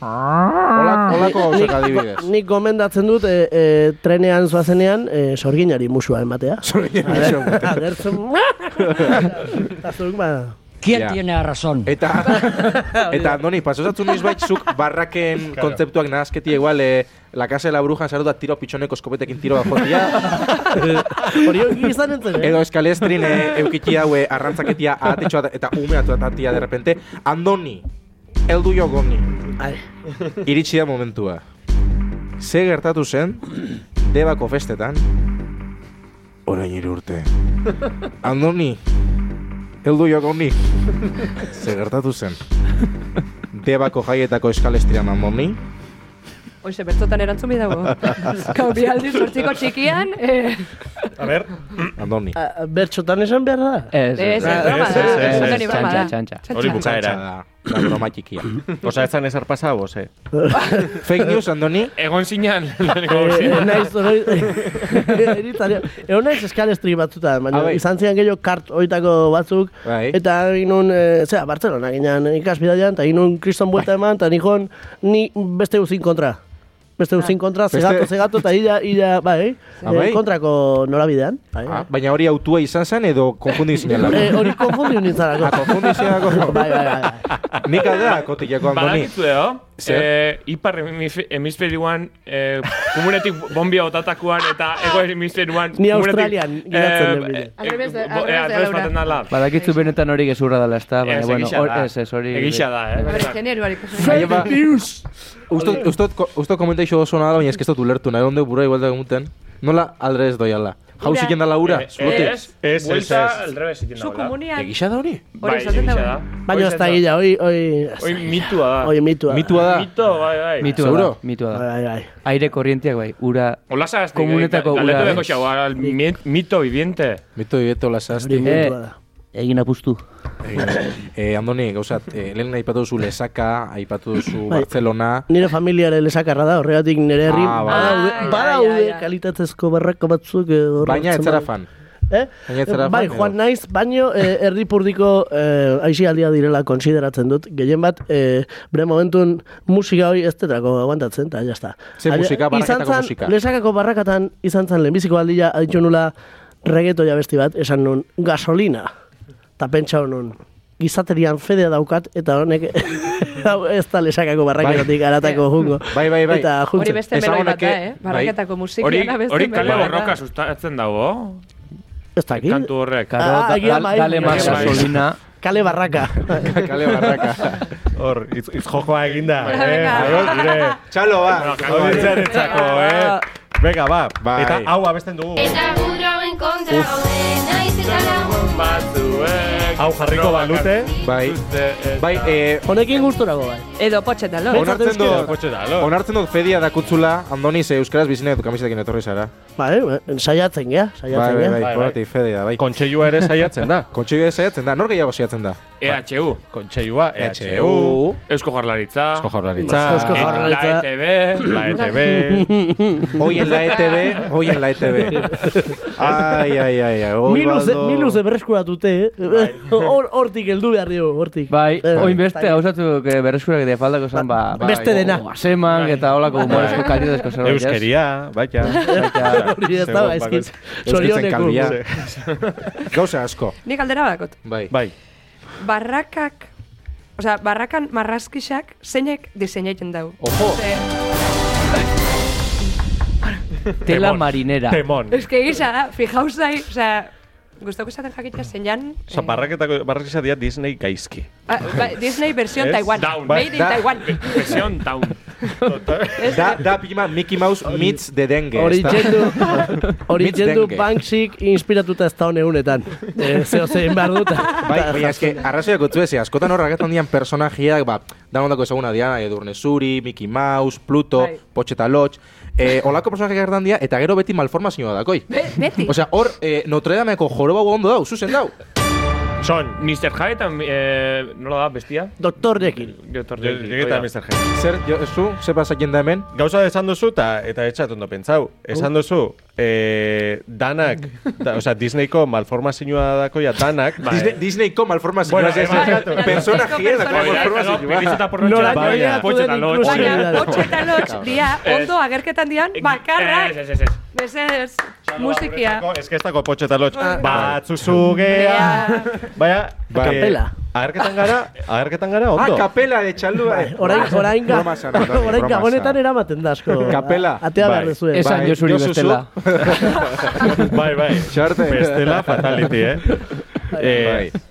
[SPEAKER 2] Olak, olako gauzak adibidez.
[SPEAKER 11] Nik gomendatzen dut, e, e, trenean zoazenean, e, sorginari musua ematea. Agertzen, Eta zuk, ba,
[SPEAKER 2] Ja.
[SPEAKER 4] razón?
[SPEAKER 2] Eta, eta Andoni, pasosatzu noiz bait zuk barraken kontzeptuak nahazketi igual eh, la casa de la bruja sartu da tiro pitxoneko eskopetekin tiro jotia
[SPEAKER 11] hori ongi izan entzen, eh?
[SPEAKER 2] edo eskalestrin eh, eukiti haue arrantzaketia ahatetxoa da- eta umea atatia de repente Andoni, eldu jo goni
[SPEAKER 11] Ai,
[SPEAKER 2] iritsi da momentua ze gertatu zen debako festetan orain hiru urte Andoni, eldu jo goni ze gertatu zen debako jaietako eskalestrin Andoni
[SPEAKER 5] Hoxe, bertotan erantzun bidago. Gau bi aldiz sortziko txikian, eh,
[SPEAKER 11] A ber.
[SPEAKER 2] Andoni.
[SPEAKER 11] Bertxotan esan behar da?
[SPEAKER 6] Ez,
[SPEAKER 5] ez, broma da, Andoni, broma da.
[SPEAKER 10] Hori bukaera.
[SPEAKER 2] La broma txikia.
[SPEAKER 10] Osa, ez zan ezar pasa, vos, eh?
[SPEAKER 2] Fake news, Andoni.
[SPEAKER 3] Egon zinan. lehenengo
[SPEAKER 11] Eh,
[SPEAKER 3] gauzean.
[SPEAKER 11] naiz, oi- eri zario. Egon naiz Euskal Herri batzutan,
[SPEAKER 2] A
[SPEAKER 11] baina
[SPEAKER 2] bai.
[SPEAKER 11] izan ziren gehiago kart oitako batzuk,
[SPEAKER 2] Bai.
[SPEAKER 11] eta egin nun, e, zera, Bartzelona ginean ikasbidaian, eta egin nun kriston buelta eman, eta nikon ni beste guzin kontra. Beste guzin kontra,
[SPEAKER 2] Beste-
[SPEAKER 11] zegato, zegato, eta ira, ira, bai,
[SPEAKER 2] Ah,
[SPEAKER 11] eh,
[SPEAKER 2] bai?
[SPEAKER 11] kontrako norabidean. Bai,
[SPEAKER 2] Ah, baina hori autua izan zen edo konfundi zinela.
[SPEAKER 11] Eh, hori konfundiu nintzarako.
[SPEAKER 2] Ah, konfundiu zinelako.
[SPEAKER 11] Bai, bai, bai.
[SPEAKER 2] Nik aldea kotileko Andoni.
[SPEAKER 3] Badakizu edo,
[SPEAKER 2] Zer?
[SPEAKER 3] eh, ipar hemisfe- hemisferioan, eh, komunetik bombia otatakoan eta ego hemisferioan...
[SPEAKER 11] Ni
[SPEAKER 3] komunetik,
[SPEAKER 11] Australian geratzen den
[SPEAKER 3] eh,
[SPEAKER 11] bila.
[SPEAKER 3] eh,
[SPEAKER 5] Alrebez da-
[SPEAKER 3] bo-
[SPEAKER 5] alrebez
[SPEAKER 3] eh,
[SPEAKER 5] da,
[SPEAKER 3] alrebez
[SPEAKER 5] Laura.
[SPEAKER 3] baten dala.
[SPEAKER 6] Badakitzu benetan hori gezurra dela, ezta? Baina,
[SPEAKER 3] Ez,
[SPEAKER 6] bueno,
[SPEAKER 3] egia
[SPEAKER 6] hor,
[SPEAKER 3] da.
[SPEAKER 6] ez, ez, hori...
[SPEAKER 3] Egia da, eh.
[SPEAKER 5] Hombre, generoari kasu.
[SPEAKER 2] Aieba-
[SPEAKER 11] Bai.
[SPEAKER 2] Ustot, ustot, ko- ustot komentaixo oso nada, baina ez que ez dut ulertu, nahi onde bura igual da gumuten. Nola aldrez doiala. Hauzi jenda laura,
[SPEAKER 3] Eh,
[SPEAKER 2] zulote.
[SPEAKER 3] Ez, ez,
[SPEAKER 10] ez.
[SPEAKER 3] ez. alrebez egiten
[SPEAKER 5] Zu
[SPEAKER 3] daula.
[SPEAKER 5] komunian...
[SPEAKER 2] Egisa da hori?
[SPEAKER 5] Hori
[SPEAKER 3] Bai,
[SPEAKER 5] esaten
[SPEAKER 3] egia
[SPEAKER 5] dago.
[SPEAKER 3] da.
[SPEAKER 11] Baina ez da gila, hoi, hoi...
[SPEAKER 3] Hoi mitua da.
[SPEAKER 11] Hoi mitua.
[SPEAKER 2] Mitua da.
[SPEAKER 3] Mito, bai, bai.
[SPEAKER 6] Mitua
[SPEAKER 2] Seguro?
[SPEAKER 6] da, mitua da.
[SPEAKER 11] Bai, bai.
[SPEAKER 6] Aire korrientiak bai, ura...
[SPEAKER 3] Hola zazte,
[SPEAKER 6] Komunetako
[SPEAKER 3] gal-
[SPEAKER 6] ura,
[SPEAKER 3] Galdetu beko
[SPEAKER 6] eh?
[SPEAKER 3] xau, al- mi- mito viviente.
[SPEAKER 2] Mito dieto lasazti.
[SPEAKER 6] Eh,
[SPEAKER 4] Egin apustu.
[SPEAKER 2] Eh, Andoni, gauzat, eh, lehen aipatu duzu lesaka, aipatu duzu
[SPEAKER 11] Bai.
[SPEAKER 2] Barcelona.
[SPEAKER 11] Nire familiare lesakarra da, horregatik nire herri
[SPEAKER 2] Ah, bai.
[SPEAKER 11] badaude,
[SPEAKER 5] Ai, ai,
[SPEAKER 11] badaude
[SPEAKER 5] ai, ai.
[SPEAKER 11] kalitatezko barrako batzuk eh, horra
[SPEAKER 2] Baina ez
[SPEAKER 11] hartzen badu.
[SPEAKER 2] zara fan.
[SPEAKER 11] Eh?
[SPEAKER 2] Baina ez zara
[SPEAKER 11] bai,
[SPEAKER 2] fan,
[SPEAKER 11] joan
[SPEAKER 2] edo?
[SPEAKER 11] naiz, baino eh, erdipurdiko eh, aisialdia direla konsideratzen dut. Gehien bat, eh, bre momentun musika hori ez tetrako aguantatzen, eta jazta.
[SPEAKER 2] Ze musika, barrakatako
[SPEAKER 11] izan zan,
[SPEAKER 2] musika?
[SPEAKER 11] Lesakako barrakatan izan zen lehenbiziko aldia aditu nula regetoia besti bat, esan nun gasolina. Eta pentsa nun, gizaterian fedea daukat, eta honek hau ez da lesakako barraketatik aratako jungo.
[SPEAKER 2] Bai, bai, bai.
[SPEAKER 11] Eta
[SPEAKER 5] Hori
[SPEAKER 11] juntzen.
[SPEAKER 5] beste
[SPEAKER 2] Ezagunak,
[SPEAKER 5] meloi bat da,
[SPEAKER 2] eh?
[SPEAKER 5] eh? Barraketako
[SPEAKER 3] Hori,
[SPEAKER 5] musikiana beste
[SPEAKER 3] hori kale
[SPEAKER 5] meloi bat da.
[SPEAKER 3] borroka sustatzen dago.
[SPEAKER 11] Ez dakit.
[SPEAKER 3] Kantu horrek.
[SPEAKER 6] Karo,
[SPEAKER 11] Ah,
[SPEAKER 6] da-
[SPEAKER 11] egia
[SPEAKER 6] dal-
[SPEAKER 11] bai.
[SPEAKER 6] dale más
[SPEAKER 3] Egia bai.
[SPEAKER 6] gasolina.
[SPEAKER 11] Kale barraka.
[SPEAKER 2] Kale barraka.
[SPEAKER 10] Hor, itz, itz jokoa eginda, eh?
[SPEAKER 5] Venga.
[SPEAKER 10] Ados, gire
[SPEAKER 2] Txalo, ba.
[SPEAKER 10] audientziarentzako, eh? Venga, ba.
[SPEAKER 2] Bai.
[SPEAKER 10] Eta hau abesten dugu.
[SPEAKER 7] Eta gudro enkontra gaude, naiz eta lagun
[SPEAKER 3] Batzuek.
[SPEAKER 10] Hau jarriko balute.
[SPEAKER 2] Bai. Bai, eh,
[SPEAKER 11] Honekin gustorago bai.
[SPEAKER 5] Edo potxetalo.
[SPEAKER 2] onartzen dut,
[SPEAKER 3] Kotxe da, lo.
[SPEAKER 2] onartzen dut fedia dakutzula, Andoni, ze eh, euskaraz bizina dut kamisetekin etorri zara.
[SPEAKER 11] Bai, saiatzen gea,
[SPEAKER 2] Bai,
[SPEAKER 11] saiatzen
[SPEAKER 2] bai,
[SPEAKER 11] gea.
[SPEAKER 2] bai,
[SPEAKER 10] bai.
[SPEAKER 2] poratik fedia, bai.
[SPEAKER 10] Kontseilua ere saiatzen da.
[SPEAKER 2] Kontxibidea saiatzen da, nor gehiago saiatzen da?
[SPEAKER 3] EHU.
[SPEAKER 10] Kontseilua EHU.
[SPEAKER 2] EU,
[SPEAKER 3] E Eusko Jarlaritza.
[SPEAKER 10] Eusko Jaurlaritza.
[SPEAKER 11] Eusko
[SPEAKER 3] eh,
[SPEAKER 11] Jaurlaritza.
[SPEAKER 3] La ETB. La
[SPEAKER 10] E
[SPEAKER 3] ETB.
[SPEAKER 2] hoy en la E ETV, hoy en la ETV. Ai, ai, ai, ai, hoy baldo.
[SPEAKER 11] Miluz ebreskura dute,
[SPEAKER 2] Bai.
[SPEAKER 11] eh? Hor- Hortik heldu behar dugu, hortik.
[SPEAKER 6] Bai,
[SPEAKER 11] Eh,
[SPEAKER 6] oin beste hausatu berreskurak de faldako zan, ba...
[SPEAKER 2] bai,
[SPEAKER 6] ba-
[SPEAKER 11] beste dena.
[SPEAKER 6] Guaseman, eta holako humorezko kalidezko zerbait. ez?
[SPEAKER 10] Euskeria, baita.
[SPEAKER 11] Hori ez da,
[SPEAKER 10] Segon,
[SPEAKER 11] gaizki.
[SPEAKER 10] bakoitz-
[SPEAKER 2] Euskitzen
[SPEAKER 11] Zorioneku.
[SPEAKER 2] kalbia. Gauza asko.
[SPEAKER 5] Nik aldera badakot.
[SPEAKER 2] Bai.
[SPEAKER 10] Bai.
[SPEAKER 5] Barrakak... Osea, barrakan marraskixak zeinek diseinaiten dau.
[SPEAKER 2] Ojo.
[SPEAKER 6] Tela
[SPEAKER 10] Temón.
[SPEAKER 6] marinera.
[SPEAKER 10] Temon.
[SPEAKER 5] Ez que gisa da, fijaus dai, osea, gustoko izaten jakitea zeinan... eh,
[SPEAKER 10] Osa, barraketako, barraketako dia Disney gaizki.
[SPEAKER 5] Ah, ba, Disney versión
[SPEAKER 10] Ez?
[SPEAKER 5] Taiwan.
[SPEAKER 3] Down.
[SPEAKER 5] Made in
[SPEAKER 2] Da-
[SPEAKER 5] Taiwan.
[SPEAKER 3] Presión down.
[SPEAKER 2] Da, da pima Mickey Mouse meets the dengue.
[SPEAKER 11] Hori
[SPEAKER 2] ezta?
[SPEAKER 11] jendu, hori
[SPEAKER 2] Mitz
[SPEAKER 11] jendu
[SPEAKER 2] dengue.
[SPEAKER 11] Banksik inspiratuta ez daun egunetan. Eh, Zeo zein behar dut.
[SPEAKER 2] Bai, baina eske, arrazoiak utzu ez, askotan horra gertan dian personajiak, ba, da ondako ezaguna dian, Edurne Zuri, Mickey Mouse, Pluto,
[SPEAKER 5] Bai.
[SPEAKER 2] Pocheta Lodge, eh, olako personajiak gertan dia, eta gero beti malformazioa dakoi.
[SPEAKER 5] Be beti.
[SPEAKER 2] Osea, hor, eh, Notre Dameko joroba ondo dau, zuzen dau.
[SPEAKER 10] Son.
[SPEAKER 3] Mr. Hyde, tam- eh, nola da, bestia?
[SPEAKER 11] Doktorrekin.
[SPEAKER 3] Yo
[SPEAKER 10] Llegeta Mr. G.
[SPEAKER 2] Zer, jo, zu, ze pasatzen da hemen?
[SPEAKER 10] Gauza esan duzu eta eta etxat ondo pentsau.
[SPEAKER 11] Uh.
[SPEAKER 10] Esan duzu, eh, danak, da, o sea, Disneyko malformazioa dakoia danak,
[SPEAKER 2] Disney, Disneyko malformazioa.
[SPEAKER 10] Bueno,
[SPEAKER 2] ez, ez,
[SPEAKER 10] bai,
[SPEAKER 2] ez,
[SPEAKER 5] bai,
[SPEAKER 2] Personajia
[SPEAKER 5] Disneyko
[SPEAKER 2] dako malformazioa.
[SPEAKER 11] Nola
[SPEAKER 10] Baina,
[SPEAKER 11] koreatu den
[SPEAKER 5] Baina,
[SPEAKER 11] inklusibilidade.
[SPEAKER 5] hotxe eta lotx, dia, ondo agerketan dian, bakarrak,
[SPEAKER 3] Ez, ez, ez.
[SPEAKER 5] mesedez, musikia.
[SPEAKER 10] Ez que ez dago potxeta lotx. Batzuzugea. Baina,
[SPEAKER 2] Bai.
[SPEAKER 10] que
[SPEAKER 11] Kapela.
[SPEAKER 10] Agerketan gara, agerketan gara,
[SPEAKER 2] Ah,
[SPEAKER 10] ondo.
[SPEAKER 2] kapela de txalua.
[SPEAKER 11] Orain, orain, ga-
[SPEAKER 2] Broma zara, Dani,
[SPEAKER 11] orain
[SPEAKER 2] broma
[SPEAKER 11] gabonetan
[SPEAKER 2] zara.
[SPEAKER 11] eramaten da asko.
[SPEAKER 2] Kapela.
[SPEAKER 11] Atea behar eh.
[SPEAKER 10] Bai.
[SPEAKER 11] duzue.
[SPEAKER 6] Esan
[SPEAKER 2] Bai,
[SPEAKER 6] Josuri
[SPEAKER 2] Josu zu.
[SPEAKER 6] bestela.
[SPEAKER 10] Bai, bai.
[SPEAKER 2] Txarte.
[SPEAKER 10] Bestela fatality, eh? eh
[SPEAKER 2] Bai.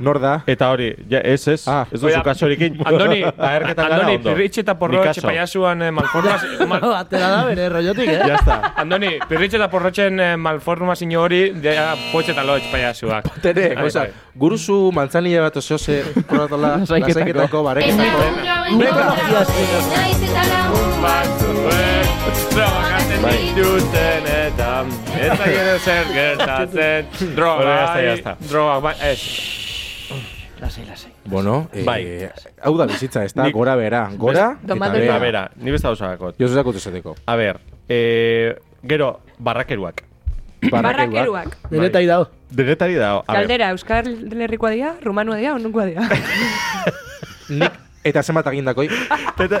[SPEAKER 2] Nor da?
[SPEAKER 10] Eta hori, ja, ez ez, ez duzu
[SPEAKER 3] Oida,
[SPEAKER 10] kasorekin.
[SPEAKER 3] Andoni,
[SPEAKER 10] Aherketan gara
[SPEAKER 3] Andoni,
[SPEAKER 10] ondo.
[SPEAKER 3] pirritxe eta
[SPEAKER 10] Ni
[SPEAKER 3] porrotxe
[SPEAKER 10] kaso.
[SPEAKER 3] paiasuan eh, malformaz...
[SPEAKER 11] Ba, Atera da bere rollotik, eh?
[SPEAKER 10] Ya está.
[SPEAKER 3] Andoni, pirritxe eta porrotxen eh, malformazio hori dea poetxe ah, eta lotx paiasuak.
[SPEAKER 2] Tere, oza, guruzu mantzanile bat oso ze protatola
[SPEAKER 3] Lasaiketako.
[SPEAKER 2] lasaiketako bareketako.
[SPEAKER 7] Naiz eta lagun
[SPEAKER 3] Trabakatzen
[SPEAKER 7] Bai.
[SPEAKER 3] dituzten eta ez gero zer gertatzen droga,
[SPEAKER 10] Bueno, ya está, ya está.
[SPEAKER 3] droga, bai, ez.
[SPEAKER 6] Lasai, lasai.
[SPEAKER 2] Bueno, eh,
[SPEAKER 10] Bai.
[SPEAKER 2] hau da bizitza, ez da,
[SPEAKER 10] Nik-
[SPEAKER 2] gora bera, gora
[SPEAKER 10] Best- eta bera. Ni besta dauzakot.
[SPEAKER 2] Jozu dakot esateko.
[SPEAKER 10] A ber, eh, gero, barrakeruak.
[SPEAKER 5] Barrakeruak.
[SPEAKER 2] bai.
[SPEAKER 11] Denetari dao.
[SPEAKER 10] Denetari dao. A ber,
[SPEAKER 5] Galdera, Euskal Herrikoa dira, Rumanua dira, onunkoa dira.
[SPEAKER 2] Eta zenbat agindakoi.
[SPEAKER 10] eta,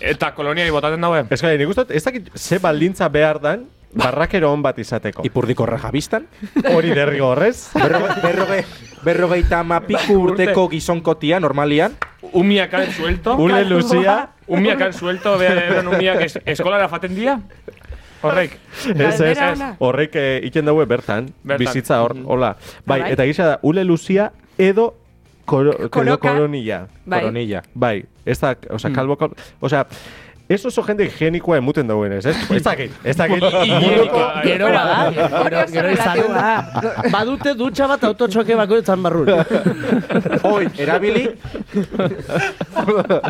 [SPEAKER 3] eta koloniari botaten daue.
[SPEAKER 10] Ez gara, nik uste, dut, ez dakit ze baldintza behar dan barrakero on bat izateko.
[SPEAKER 2] Ipurdiko rajabistan?
[SPEAKER 10] Hori derrigorrez.
[SPEAKER 2] Berroge- berroge, berrogeita mapiku urteko gizonkotia, normalian.
[SPEAKER 3] Umiak han suelto.
[SPEAKER 2] Ule luzia.
[SPEAKER 3] Umiak han suelto, behar umiak es, eskolara faten dia. Horrek.
[SPEAKER 10] Ez, ez, ez. Horrek eh, iten daue bertan,
[SPEAKER 3] Bertan.
[SPEAKER 10] bizitza hor, hola. Bai,
[SPEAKER 3] Bai.
[SPEAKER 10] eta gisa da, ule luzia edo koro, edo
[SPEAKER 3] Koloka.
[SPEAKER 10] koronilla.
[SPEAKER 3] Bai.
[SPEAKER 2] Koronilla.
[SPEAKER 10] Bai, ez da, o sea, kalbo, kal- o sea, Ez oso jende higienikoa emuten dauen ez, ez? Ez dakit, ez dakit.
[SPEAKER 11] Higienikoa, Gero bada,
[SPEAKER 10] Hori
[SPEAKER 11] gero,
[SPEAKER 10] oso
[SPEAKER 11] gero izan da. Badute dutxa bat autotxoke bakoetzan barrun.
[SPEAKER 2] Hoi, erabili.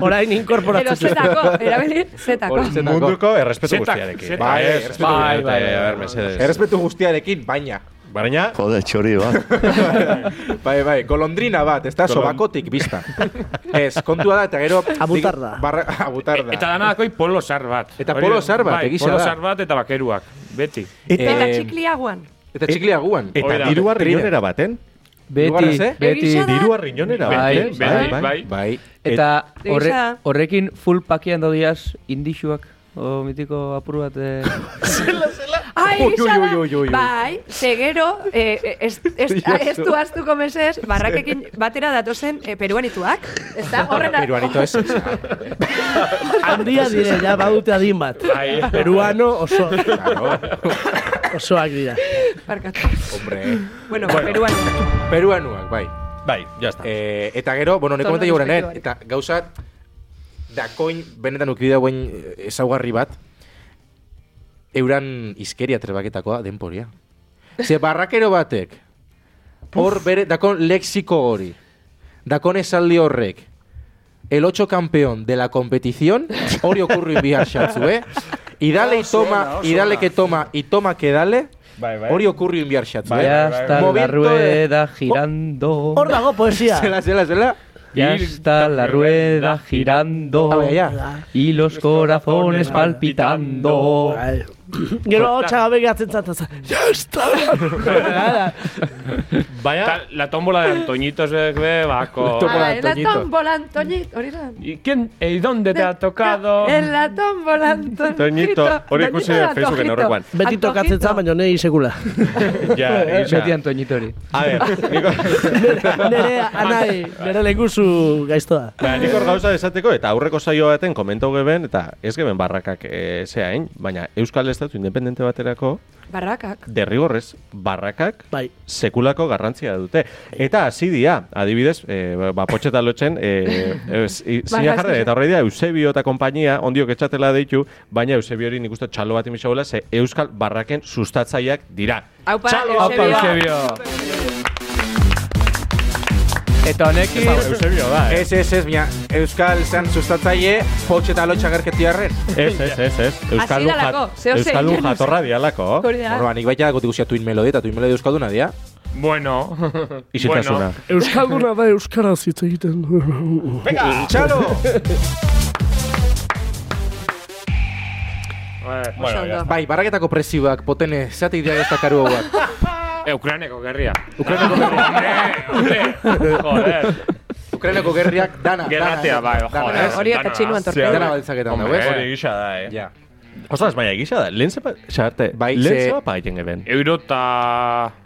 [SPEAKER 11] Orain
[SPEAKER 5] Pero
[SPEAKER 11] inkorporatzen.
[SPEAKER 5] zetako, erabili zetako.
[SPEAKER 10] Hori zetako. Munduko errespetu
[SPEAKER 2] Zetak,
[SPEAKER 10] guztiarekin.
[SPEAKER 2] zetak.
[SPEAKER 10] Bai,
[SPEAKER 2] Bai,
[SPEAKER 10] ez,
[SPEAKER 2] errespetu
[SPEAKER 10] bai, bai,
[SPEAKER 2] guztiarekin.
[SPEAKER 10] a ber, mesedez.
[SPEAKER 2] Errespetu guztiarekin, baina.
[SPEAKER 10] Baina...
[SPEAKER 13] Jode, txori bat.
[SPEAKER 2] Bai, bai, golondrina bat, ez da,
[SPEAKER 13] Golon-
[SPEAKER 2] sobakotik bizta. Ez, kontua da, eta gero... Abutarda. Barra, abutarda.
[SPEAKER 3] Eta danadakoi polo zar bat.
[SPEAKER 2] Eta
[SPEAKER 3] Hori-
[SPEAKER 2] polo zar bat,
[SPEAKER 3] bai,
[SPEAKER 2] egisa
[SPEAKER 3] Polo
[SPEAKER 2] da.
[SPEAKER 3] zar bat eta bakeruak, beti.
[SPEAKER 5] Eta, eta txikliaguan.
[SPEAKER 2] Em, Eta txiklia guan.
[SPEAKER 10] Eta dirua riñonera baten.
[SPEAKER 6] Beti, Diruarrez, eh? beti.
[SPEAKER 10] Dirua riñonera baten.
[SPEAKER 6] Bai, bai, Eta horre,
[SPEAKER 5] Egia.
[SPEAKER 6] horrekin full pakian daudiaz indixuak. O mitiko apur bat... Eh.
[SPEAKER 5] Ai,
[SPEAKER 6] Ui, ui,
[SPEAKER 5] gisa da,
[SPEAKER 6] ui, ui, ui, ui.
[SPEAKER 5] bai, zegero, eh, eh, ez, ez, ez du aztuko meses, barrakekin batera datozen eh, peruanituak. Ez da, horren
[SPEAKER 2] Peruanito ez.
[SPEAKER 11] Handia dire, ja, badute adin bat.
[SPEAKER 2] Ai.
[SPEAKER 11] Peruano oso. Osoak dira.
[SPEAKER 2] Hombre.
[SPEAKER 5] Bueno,
[SPEAKER 2] Bueno.
[SPEAKER 5] peruano.
[SPEAKER 2] Peruanuak, bai.
[SPEAKER 10] Bai, ya está.
[SPEAKER 2] Eh, eta gero, bueno, neko
[SPEAKER 5] Torno
[SPEAKER 2] komenta jauren,
[SPEAKER 5] perspektibarekin.
[SPEAKER 2] eh? eta gauza dakoin, benetan ukidea guen ezaugarri bat, euran izkeria trebaketakoa denporia. Ze barrakero batek, hor bere, dakon lexiko hori, dakon esaldi horrek, el 8 campeón de la competición, hori ocurri bihar xatzu, eh? Y dale y
[SPEAKER 13] Oso ona,
[SPEAKER 2] toma,
[SPEAKER 13] oso
[SPEAKER 2] y dale
[SPEAKER 13] ona.
[SPEAKER 2] que toma, y toma que dale,
[SPEAKER 10] Bai, bai.
[SPEAKER 2] hori ocurri bihar xatzu, eh?
[SPEAKER 6] Ya está la
[SPEAKER 2] Momento de-
[SPEAKER 6] rueda girando.
[SPEAKER 11] Hor dago poesia.
[SPEAKER 2] Zela, zela, zela.
[SPEAKER 6] Ya está la rueda girando. Y los corazones palpitando.
[SPEAKER 11] Bai. Gero hau txagabe gatzen zatazan. Ja, está!
[SPEAKER 3] Vaya. La tómbola de Antoñitos de Bebaco.
[SPEAKER 5] Ah, en la tómbola, Antoñito, hori da.
[SPEAKER 3] ¿Y quién? ¿Y dónde te ha tocado?
[SPEAKER 5] En la tómbola, Antoñito.
[SPEAKER 10] Toñito, hori ikusi
[SPEAKER 5] Toñito,
[SPEAKER 10] Facebooken aurrekoan.
[SPEAKER 11] Beti tokatzen zan, baina nahi sekula.
[SPEAKER 10] Ja, isa.
[SPEAKER 6] Beti Antoñitori.
[SPEAKER 10] A ber, niko,
[SPEAKER 11] Nere anai, nere lenguzu gaiztoa.
[SPEAKER 10] ba, nik hor gauza esateko, eta aurreko saio baten komentau geben, eta ez geben barrakak e, zeain, baina Euskal Estatu Independente baterako,
[SPEAKER 5] Barrakak.
[SPEAKER 10] derrigorrez, barrakak
[SPEAKER 11] bai.
[SPEAKER 10] sekulako garrantzia dute. Eta hasi dira, adibidez, e, ba, potxeta lotzen, e, ez, i- zina
[SPEAKER 13] Barra
[SPEAKER 10] jarri,
[SPEAKER 13] eske-
[SPEAKER 10] eta horre dira Eusebio eta kompainia, ondiok etxatela deitu, baina Eusebio hori nik uste txalo bat imisagoela, ze Euskal Barraken sustatzaileak dira.
[SPEAKER 5] Aupa,
[SPEAKER 10] Txalo, aupa,
[SPEAKER 5] Eusebio.
[SPEAKER 6] Eta ba, honekin...
[SPEAKER 10] Eusebio da, eh?
[SPEAKER 2] Ez, ez, ez, baina Euskal zan sustatzaile potxe eta lotxa gerketi arren.
[SPEAKER 10] Ez, ez, ez, ez.
[SPEAKER 5] Euskaldun Hasi dalako, jat- zeo zein euskaldun genuz. jatorra
[SPEAKER 10] dialako.
[SPEAKER 5] Hori da.
[SPEAKER 2] Bueno, ba, nik baita dagotik usia tuin melodi eta tuin melodi Euskalduna dia.
[SPEAKER 3] Bueno.
[SPEAKER 2] Isiltasuna.
[SPEAKER 11] Euskalduna da euskaraz hitz egiten.
[SPEAKER 2] Venga, txalo!
[SPEAKER 3] Bueno, ya está.
[SPEAKER 2] Bai, barraketako presioak potene zatik dira ez dakaru hauak.
[SPEAKER 3] Eh, Ukraineko gerria.
[SPEAKER 2] Ukraineko
[SPEAKER 3] gerria. hombre, hombre, joder.
[SPEAKER 2] Ukraineko gerriak dana, dana.
[SPEAKER 3] Gerratea, bai, joder.
[SPEAKER 5] Hori eta txinuan torpedo.
[SPEAKER 2] Dana baltzaketan dago, ez?
[SPEAKER 10] Hori gisa da, eh?
[SPEAKER 2] Ja.
[SPEAKER 10] Ostras, baina gisa da. Lehen zepa, xarte, bai, lehen
[SPEAKER 2] ze-
[SPEAKER 10] zepa paien geben.
[SPEAKER 3] Eurota...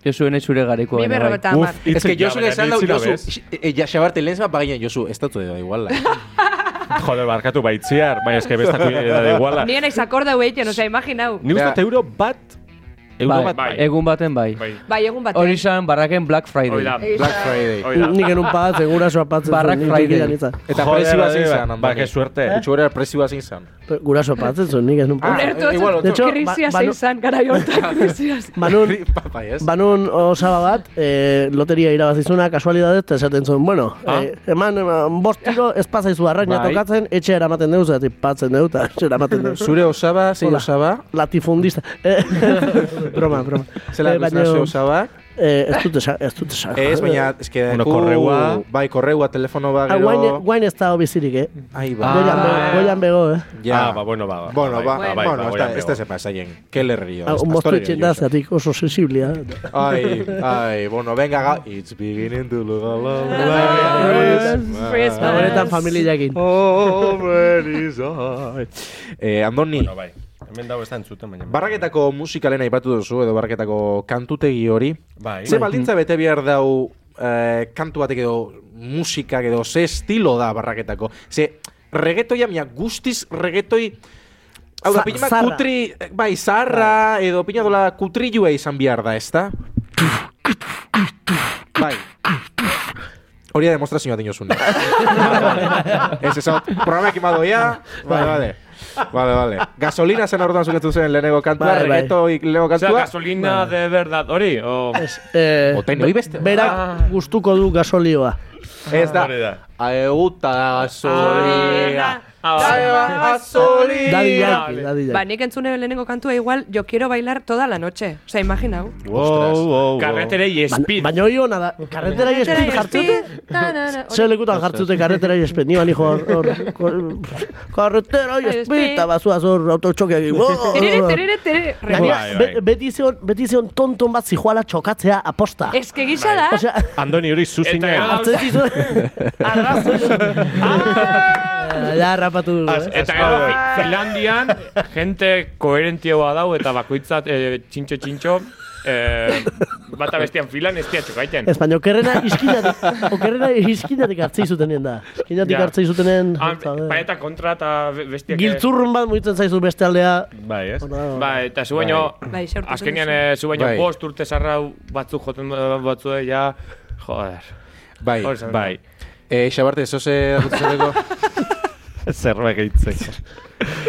[SPEAKER 6] Josu ene zure bai. gareko.
[SPEAKER 5] Bi berrogeita hamar.
[SPEAKER 10] Uf,
[SPEAKER 2] Ez que
[SPEAKER 10] hitzek
[SPEAKER 2] Josu
[SPEAKER 10] ja,
[SPEAKER 2] esan
[SPEAKER 10] baina
[SPEAKER 2] dau,
[SPEAKER 10] ni
[SPEAKER 2] Josu,
[SPEAKER 10] itxi
[SPEAKER 2] x- e, ja xabarte lehen bat baginen, Josu, ez dut da igual.
[SPEAKER 10] Joder, barkatu baitziar, baina eske bestako da iguala.
[SPEAKER 5] Ni naiz akorda hau egiten, osea, imaginau.
[SPEAKER 10] Ni uste euro bat
[SPEAKER 6] Egun,
[SPEAKER 3] Egun bat bai.
[SPEAKER 6] egun baten bai.
[SPEAKER 5] Bai, egun batean.
[SPEAKER 6] Hori izan barraken Black Friday.
[SPEAKER 3] Hori da,
[SPEAKER 5] Black
[SPEAKER 3] Friday. Hori da.
[SPEAKER 11] Nik genuen patzen, gurasoa patzen.
[SPEAKER 6] Barrak Friday.
[SPEAKER 2] Eta
[SPEAKER 11] Joder,
[SPEAKER 2] prezioa
[SPEAKER 10] eh,
[SPEAKER 2] zein
[SPEAKER 11] Adriba,
[SPEAKER 2] zen,
[SPEAKER 11] ba, que
[SPEAKER 10] suerte. Ah,
[SPEAKER 2] Gutxu gora prezioa zein zen.
[SPEAKER 11] Gurasoa patzen zuen, nik ez nun
[SPEAKER 2] Ah,
[SPEAKER 11] patzen.
[SPEAKER 5] Ulertu,
[SPEAKER 2] igual,
[SPEAKER 5] ez-
[SPEAKER 11] de hecho,
[SPEAKER 5] krisia
[SPEAKER 11] ba-
[SPEAKER 5] zein
[SPEAKER 11] banu-
[SPEAKER 5] zan gara hortan, krisia zein.
[SPEAKER 11] Banun,
[SPEAKER 2] Bai, Ba-
[SPEAKER 11] banun osaba bat, eh, loteria irabazizuna, kasualidadez, eta esaten zuen, bueno,
[SPEAKER 5] Ah.
[SPEAKER 11] eh, eman, eman, bostiko, ez pasaizu arraina
[SPEAKER 2] Bai.
[SPEAKER 11] tokatzen, etxe eramaten deuz, eta patzen deuz, eta etxe eramaten deuz.
[SPEAKER 2] Zure osaba, zein
[SPEAKER 11] Hola,
[SPEAKER 2] osaba?
[SPEAKER 11] Latifundista. Eh, broma, broma.
[SPEAKER 2] Zela
[SPEAKER 11] Eh,
[SPEAKER 2] guztina
[SPEAKER 11] baino-
[SPEAKER 2] zure osaba?
[SPEAKER 11] Eh, ez dut esan, ez dut esan.
[SPEAKER 2] Ez, baina, ez que...
[SPEAKER 11] Bueno,
[SPEAKER 2] ku-
[SPEAKER 11] korreua.
[SPEAKER 2] Bai, korreua, telefono ba,
[SPEAKER 11] Ah, guain,
[SPEAKER 2] gero... Ah.
[SPEAKER 11] guain ez dago bizirik, eh?
[SPEAKER 2] Ahí
[SPEAKER 11] va. Goian, bego, goian bego, eh?
[SPEAKER 2] Ya.
[SPEAKER 10] Ah, ba, bueno, ba, ba,
[SPEAKER 2] Bueno,
[SPEAKER 10] bai,
[SPEAKER 2] ba,
[SPEAKER 10] ba, bai,
[SPEAKER 2] bueno,
[SPEAKER 10] ba,
[SPEAKER 2] esta,
[SPEAKER 10] goian
[SPEAKER 2] esta
[SPEAKER 10] bego.
[SPEAKER 2] se pasa bien. Qué le río.
[SPEAKER 11] Ah, Un mostu etxen da, zatik oso eh. sensiblia.
[SPEAKER 2] Ay, ay, bueno, venga, ga- it's beginning to look a lot
[SPEAKER 11] Ah, Christmas.
[SPEAKER 5] Ah,
[SPEAKER 11] Ba,
[SPEAKER 5] eh.
[SPEAKER 11] benetan familiakin.
[SPEAKER 2] Already gone. Eh, Andoni,
[SPEAKER 10] Bueno, bai. Hemen dago ez da entzuten, baina...
[SPEAKER 2] barraketako musikalen aipatu duzu, edo barraketako kantutegi hori.
[SPEAKER 10] Bai.
[SPEAKER 2] Ze baldintza bete behar dau eh, kantu batek edo musika edo ze estilo da barraketako. Ze regetoia, mia guztiz regetoi... Hau da,
[SPEAKER 11] Za-
[SPEAKER 2] pina
[SPEAKER 11] zarra.
[SPEAKER 2] kutri, bai, zarra, edo pina dola kutrilua izan behar da, ezta? Bai. Hori da demostrazioa dinozun. Ez esan, programak imadoia, bale, bale. Bale, bale. Gasolina zen orduan zuketu zen lehenengo kantua,
[SPEAKER 3] Bai, bai.
[SPEAKER 2] regeto lehenengo
[SPEAKER 3] O sea,
[SPEAKER 2] kantua.
[SPEAKER 3] gasolina de verdad, hori? O...
[SPEAKER 11] Eh,
[SPEAKER 2] Oten, hori beste.
[SPEAKER 11] Berak gustuko du gasolioa.
[SPEAKER 2] Ez da. Aeguta gasolina.
[SPEAKER 3] Ah,
[SPEAKER 11] Daddy
[SPEAKER 2] Gasolina.
[SPEAKER 11] Yankee, Daddy Yankee.
[SPEAKER 5] Ba, nik entzune lehenengo kantua igual, yo quiero bailar toda la noche. O sea, imagina, hau.
[SPEAKER 3] Karreterei
[SPEAKER 11] speed. Baina hori hona da, karretera speed jartzute? Zer lekutan jartzute karretera speed, ni bani hor... hor- hor- Karretera speed, eta bazuaz hor autotxokeak.
[SPEAKER 5] Terere, terere, terere.
[SPEAKER 11] Gainera,
[SPEAKER 10] Bai, bai.
[SPEAKER 11] be- Beti zeon, beti zeon tonton bat zijoala txokatzea aposta.
[SPEAKER 5] Es que gisa da.
[SPEAKER 11] Osea,
[SPEAKER 10] Andoni hori
[SPEAKER 11] Eta-
[SPEAKER 10] zuzina.
[SPEAKER 11] Atzetik Ah. Ja, Eh, rapatu.
[SPEAKER 3] Eta gero, Fi- Finlandian, gente koherentiegoa dau eta bakoitza eh, txintxo txintxo, eh, bata bestian filan ez tia txukaiten.
[SPEAKER 11] Ez baina okerrena izkinatik, okerrena izkinatik hartzei zutenen da. Izkinatik
[SPEAKER 3] Ja.
[SPEAKER 11] hartzei zutenen...
[SPEAKER 10] Ah,
[SPEAKER 11] eh.
[SPEAKER 3] Paeta kontra eta be- bestiak...
[SPEAKER 11] Giltzurrun bat mugitzen zaizu beste aldea.
[SPEAKER 10] eh. Bai, ez?
[SPEAKER 3] Ba, eta zu baino,
[SPEAKER 5] Bai, sortu
[SPEAKER 3] azkenean
[SPEAKER 5] zen.
[SPEAKER 3] eh, zu baino
[SPEAKER 10] Bai.
[SPEAKER 3] bost urte zarrau batzuk joten eh, batzue, ja, joder.
[SPEAKER 2] Bai,
[SPEAKER 3] Hor zen.
[SPEAKER 2] bai. Eh, Xabarte, zoze gutzeteko.
[SPEAKER 10] Zerbait gehitzeko.